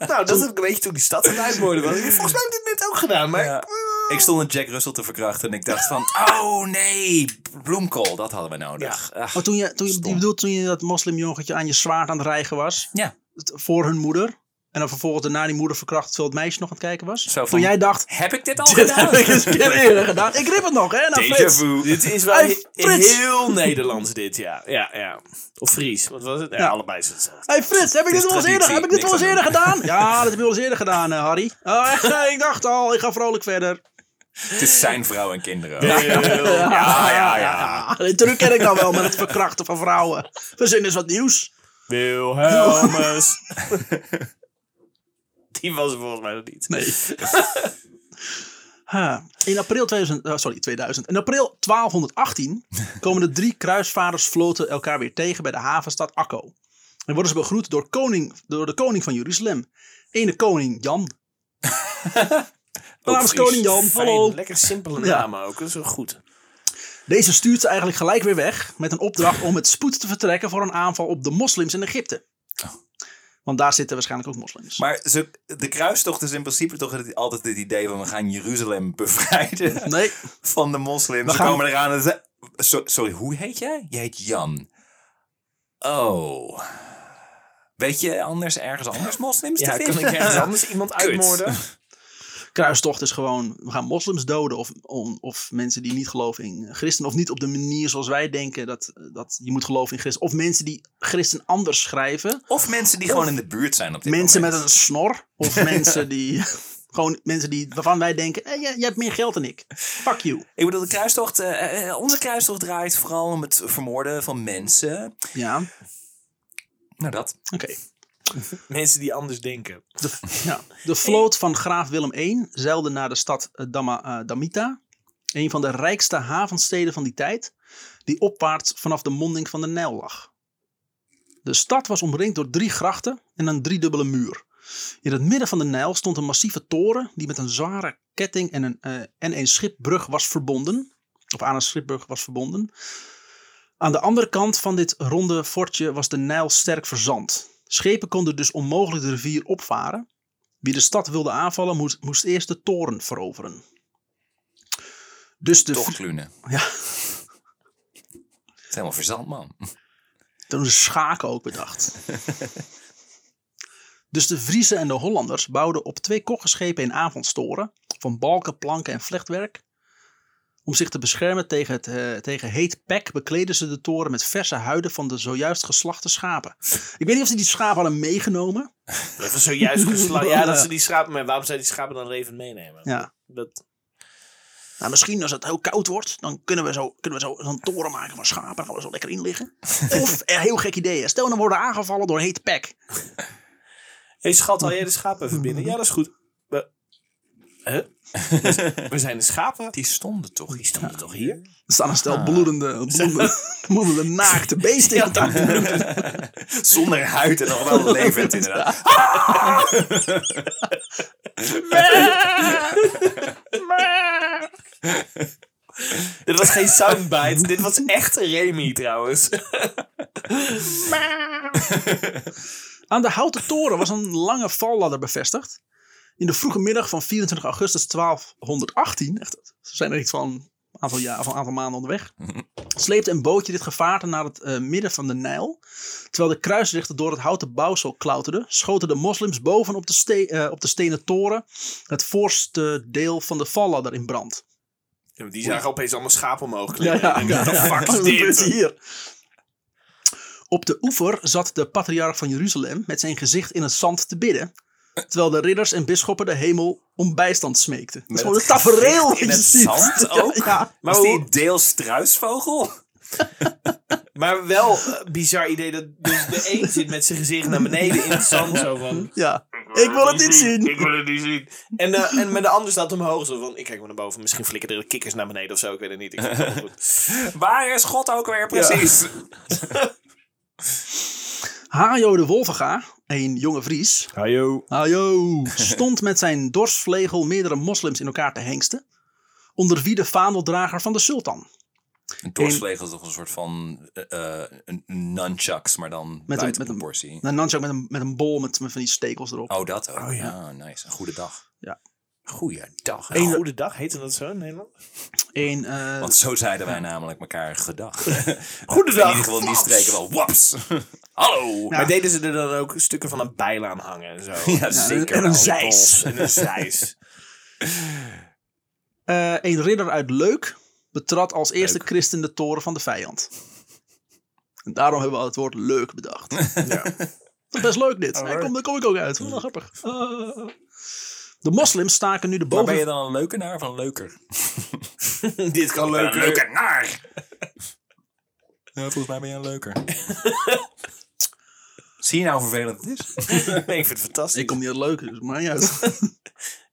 Nou, dat heb ik een beetje toen ik die stad aan het uitmoorden was. Ik dacht, Volgens mij heb ik dit net ook gedaan, maar... Ja. Ik stond een Jack Russell te verkrachten en ik dacht van, oh nee, bloemkool, dat hadden we nodig. Ach, Maar toen je, toen je, je Stom. bedoelt toen je dat moslimjongetje aan je zwaard aan het rijgen was? Ja. Het- Voor hun moeder? En dan vervolgens daarna die moeder verkracht terwijl het meisje nog aan het kijken was. Zo van- Toen jij dacht, Heb ik dit al dit gedaan? heb ik eens een keer eerder gedaan. Ik rip het nog, hè? Nou, Déjà Frits. vu. Dit is wel Hey, he- Frits! heel Nederlands dit, ja. ja, ja. Of Fries, wat was het? Ja, Ja. allebei zijn het. Hey Frits, heb ik Het dit is wel eens eerder, traditie, heb ik dit niks wel eens aan eerder gedaan? Ja, dat heb je wel eens eerder gedaan, eh, Harry. Ah, ik dacht al, ik ga vrolijk verder. Het is zijn vrouw en kinderen. Heel- Ja, ja, ja. Ah, dit truc ken ik dan wel met het verkrachten van vrouwen. Verzin eens wat nieuws. Wilhelmus. Die was er volgens mij nog niet. Nee. Ha, In april 2000, eh, sorry, 2000. In april 1218 komen de drie kruisvaardersvloten elkaar weer tegen bij de havenstad Akko. En worden ze begroet door, koning, door de koning van Jeruzalem. Ene koning Jan. Namens Fries. koning Jan, Fijn, hallo. Lekker simpele Ja. namen ook, dat is wel goed. Deze stuurt ze eigenlijk gelijk weer weg met een opdracht om met spoed te vertrekken voor een aanval op de moslims in Egypte. Want daar zitten waarschijnlijk ook moslims. Maar ze, de kruistocht is in principe toch het- altijd dit idee van we gaan Jeruzalem bevrijden nee, van de moslims. We We gaan- komen eraan en ze... So- sorry, hoe heet jij? Je heet Jan. Oh. Weet je anders ergens anders moslims Ja, te kan vinden? ik ergens anders iemand uitmoorden? kruistocht is gewoon, we gaan moslims doden of, on- of mensen die niet geloven in christen. Of niet op de manier zoals wij denken dat, dat je moet geloven in christen. Of mensen die christen anders schrijven. Of mensen die gewoon in de buurt zijn op dit mensen moment. met een snor. Of mensen die, gewoon mensen die, waarvan wij denken, eh, jij, jij hebt meer geld dan ik. Fuck you. Ik bedoel, de kruistocht, eh, eh, onze kruistocht draait vooral om het vermoorden van mensen. Ja, oké. Nou, dat. Mensen die anders denken. De, ja, de vloot van graaf Willem I zeilde naar de stad eh, Dama, eh, Damita, een van de rijkste havensteden van die tijd, die opwaarts vanaf de monding van de Nijl lag. De stad was omringd door drie grachten en een driedubbele muur. In het midden van de Nijl stond een massieve toren die met een zware ketting en een, eh, en een schipbrug was verbonden. Of aan een schipbrug was verbonden. Aan de andere kant van dit ronde fortje was de Nijl sterk verzand. Schepen konden dus onmogelijk de rivier opvaren. Wie de stad wilde aanvallen moest, moest eerst de toren veroveren. Dus de, Toch klunen. Ja. Het is helemaal verzand, man. Toen is schaken ook bedacht. dus de Vriezen en de Hollanders bouwden op twee koggenschepen in avondstoren van balken, planken en vlechtwerk. Om zich te beschermen tegen, het, eh, tegen heet pek bekleden ze de toren met verse huiden van de zojuist geslachte schapen. Ik weet niet of ze die schapen hadden meegenomen. Dat was zojuist geslagen. Ja, dat ze die schapen... Maar waarom zou die schapen dan levend meenemen? Ja. Dat, Nou, misschien als het heel koud wordt, dan kunnen we zo, kunnen we zo zo'n toren maken van schapen. Dan gaan we zo lekker in liggen. Of eh, heel gek idee. hè. Stel, dan worden aangevallen door heet pek. hey, schat, wil jij de schapen verbinden? Ja, dat is goed. We, Huh? Dus we zijn de schapen. Die stonden toch Die stonden toch hier? Er staan een stel bloedende, bloedende, bloedende naakte beesten in. Ja, Zonder huid en nog wel levend, inderdaad. Dit was geen soundbite. Dit was echt Remy trouwens. Aan de houten toren was een lange valladder bevestigd. In de vroege middag van 24 augustus 1218, echt, ze zijn er iets van een aantal, jaar, van een aantal maanden onderweg, sleepte een bootje dit gevaarte naar het eh, midden van de Nijl. Terwijl de kruisrichter door het houten bouwsel klauterden, schoten de moslims boven op de, ste- eh, op de stenen toren het voorste deel van de valladder in brand. die zagen opeens allemaal schapen omhoog Ja, klimmen. ja. En ik dacht, "The fuck Wat is gebeurt dit? hier? Op de oever zat de patriarch van Jeruzalem met zijn gezicht in het zand te bidden. Terwijl de ridders en bisschoppen de hemel om bijstand smeekten. Dat is Met gewoon een het gezicht tafereel in wat je het ziet. zand ook? Ja, ja. Maar, Was hoe- die deels struisvogel? maar wel eh, bizar idee dat dus de een zit met zijn gezicht naar beneden in het zand. Zo van, ja. Ik wil het niet zien. Ik wil het niet zien. En, eh, en met de ander staat omhoog. Zo van, ik kijk maar naar boven. Misschien flikken er de kikkers naar beneden of zo. Ik weet het niet. Ik vind het wel goed. Waar is God ook weer precies? Hajo de Wolvenga, een jonge Vries, Hallo. Hajo, stond met zijn dorsvlegel meerdere moslims in elkaar te hengsten. Onder wie de vaandeldrager van de sultan. Een dorsvlegel is toch een soort van eh, eh, een een nunchucks, maar dan een- met buiten met een- proportie. En dan zo met een, met een bol met, met van die stekels erop. Oh, dat ook. Oh, ja. ja. nice. Een goede dag. Ja. Goeiedag. Een goede dag, heette dat zo in Nederland? één. eh, Want zo zeiden wij namelijk elkaar gedag. Goedendag. In ieder geval in die streken wel. Waps. Hallo. Ja. Maar deden ze er dan ook stukken van een bijl aan hangen en zo? Ja, zeker. en een wel. zeis. En een zeis. eh, een ridder uit Leuk betrad als eerste christen de toren van de vijand. En daarom hebben we het woord leuk bedacht. Ja. Dat is best leuk dit. Alright. Daar kom, daar kom ik ook uit. Wat grappig. Ah. de moslims staken nu de Maar ben je boven... dan een leukenaar van leuker? Dit kan Een leuker. leukenaar. Ja, volgens mij ben je een leuker. Zie je nou hoe vervelend het is? Nee, ik vind het fantastisch. Ik Ik, kom niet uit leuk, dus maar niet uit.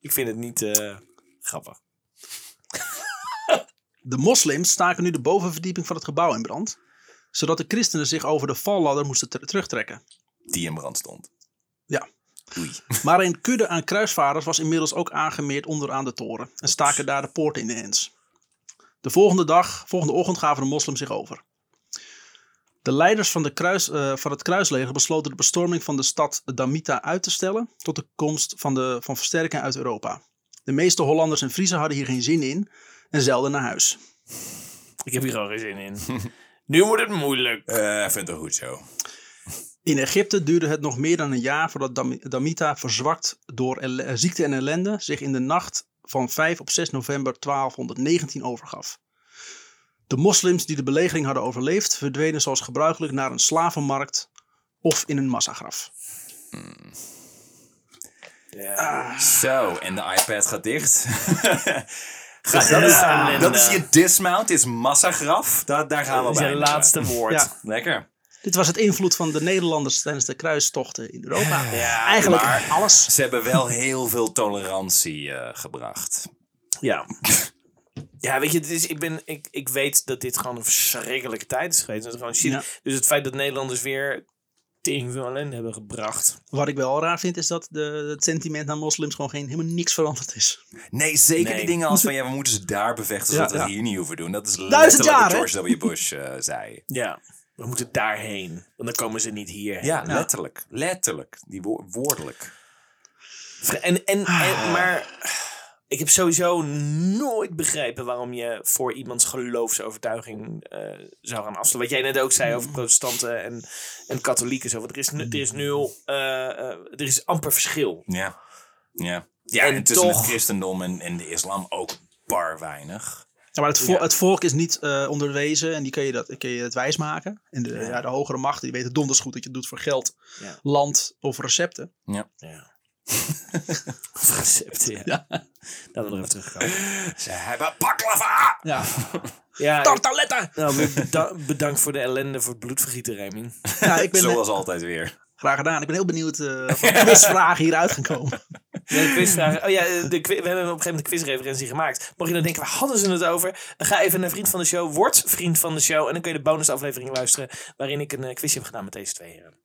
vind het niet eh, grappig. De moslims staken nu de bovenverdieping van het gebouw in brand, zodat de christenen zich over de valladder moesten ter- terugtrekken. Die in brand stond. Ja. Oei. Maar een kudde aan kruisvaarders was inmiddels ook aangemeerd onderaan de toren en staken daar de poort in de ens. De volgende dag, volgende ochtend, gaven de moslims zich over. De leiders van, de kruis, eh, van het kruisleger besloten de bestorming van de stad Damita uit te stellen tot de komst van, de, van versterking uit Europa. De meeste Hollanders en Friesen hadden hier geen zin in en zelden naar huis. Ik heb hier gewoon geen zin in. nu wordt het moeilijk. Eh, vind het goed zo. In Egypte duurde het nog meer dan een jaar voordat Dam- Damita, verzwakt door ele- eh, ziekte en ellende, zich in de nacht van 5 op 6 november 1219 overgaf. De moslims die de belegering hadden overleefd, verdwenen zoals gebruikelijk naar een slavenmarkt of in een massagraf. Ah, Zo, en de iPad gaat dicht. Dus dat, is, aan dat en, is eh, je dismount, is massagraf. Daar, daar gaan we dat is bij. je laatste woord. Ja. Lekker. Dit was het invloed van de Nederlanders tijdens de kruistochten in Europa. Ja, Eigenlijk maar- alles. Ze hebben wel heel veel tolerantie eh, gebracht. Ja. Ja, weet je, het is, ik, ben, ik, ik weet dat dit gewoon een verschrikkelijke tijd is geweest. Dat is gewoon shit. Ja. Dus het feit dat Nederlanders weer tegen veel ellende hebben gebracht. Wat ik wel raar vind, is dat de, het sentiment naar moslims gewoon geen, helemaal niks veranderd is. Nee, zeker Nee. die dingen als van ja, we moeten ze daar bevechten zodat Ja, we het ja. hier niet hoeven doen. Dat is Duizend letterlijk wat jaar, hè? George W. Bush eh, zei. Ja. We moeten daarheen. Want dan komen ze niet hier. Ja, letterlijk. Letterlijk. Die wo- woordelijk. Vra- En, en, en, maar ik heb sowieso nooit begrepen waarom je voor iemands geloofsovertuiging eh, zou gaan afslaan. Wat jij net ook zei over protestanten en, en katholieken. Zo. Want er is, nu- er is nul, eh, eh, er is amper verschil. Ja. Ja. Ja, en, En tussen toch- het christendom en, en de islam ook bar weinig. Ja, maar het, vo- Ja. het volk is niet eh, onderwezen en die kun je, dat, kun je het wijsmaken. En de, ja. de hogere machten die weten donders goed dat je het doet voor geld, Ja. land of recepten. Ja. Recept, ja. ja. Laten we erop terugkomen. Ze hebben baklava! Ja. Ja, Tartaletten! nou, beda- bedankt voor de ellende, voor het bloedvergieten, Remy. Ja, ik ben eh, Zoals altijd weer. graag gedaan. Ik ben heel benieuwd eh of er quizvragen hieruit gaan komen. Ja, de quizvragen. Oh ja, de, qui- we hebben op een gegeven moment een quizreferentie gemaakt. Mocht je dan denken, waar hadden ze het over? Ga even naar Vriend van de Show, word Vriend van de Show. En dan kun je de bonusaflevering luisteren, waarin ik een eh, quizje heb gedaan met deze twee heren.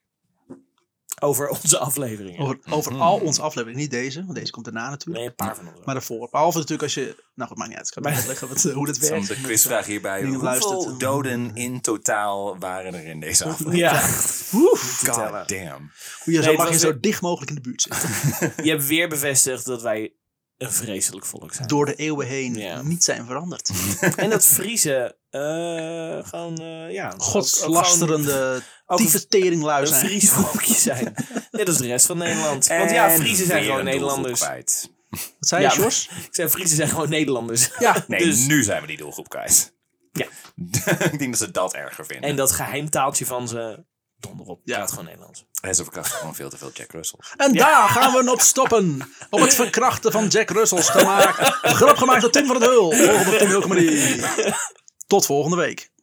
Over onze afleveringen. Over, over al onze afleveringen. Niet deze, want deze komt daarna natuurlijk. Mm. Nee, een paar van ons. Maar daarvoor. Behalve natuurlijk als je... Nou goed, maakt niet uit. Ik kan niet uitleggen wat, eh, hoe dat Dan werkt. de quizvraag hierbij. Niemand Hoeveel luistert. doden in totaal waren er in deze aflevering? Ja, Oeh, te tellen. God damn. Hoe je zo Nee, het mag je was zo een- dicht mogelijk in de buurt zitten. je hebt weer bevestigd dat wij een vreselijk volk zijn. Door de eeuwen heen Ja. niet zijn veranderd. En dat Friese eh, gewoon, eh, ja... ook- ook gewoon Godslasterende ook een- tyfeteringluizen. een zijn. Fries volkje zijn. Net als de rest van Nederland. Want ja, En Friese zijn weer gewoon een doelgroep Nederlanders. kwijt. Wat zei je, Ja, Sjors? Ik zei, Friese zijn gewoon Nederlanders. Ja. Nee, Dus- nu zijn we die doelgroep kwijt. Ja. ik denk dat ze dat erger vinden. En dat geheimtaaltje van ze. Donder op. Ja. Ja. Praat gewoon Nederlands. En ze verkrachten gewoon veel te veel Jack Russell. En daar gaan we op stoppen. Op het verkrachten van Jack Russells gemaakt. Grap gemaakt door Tim van het Hul. Volgende Tim Hulkemarie. Tot volgende week.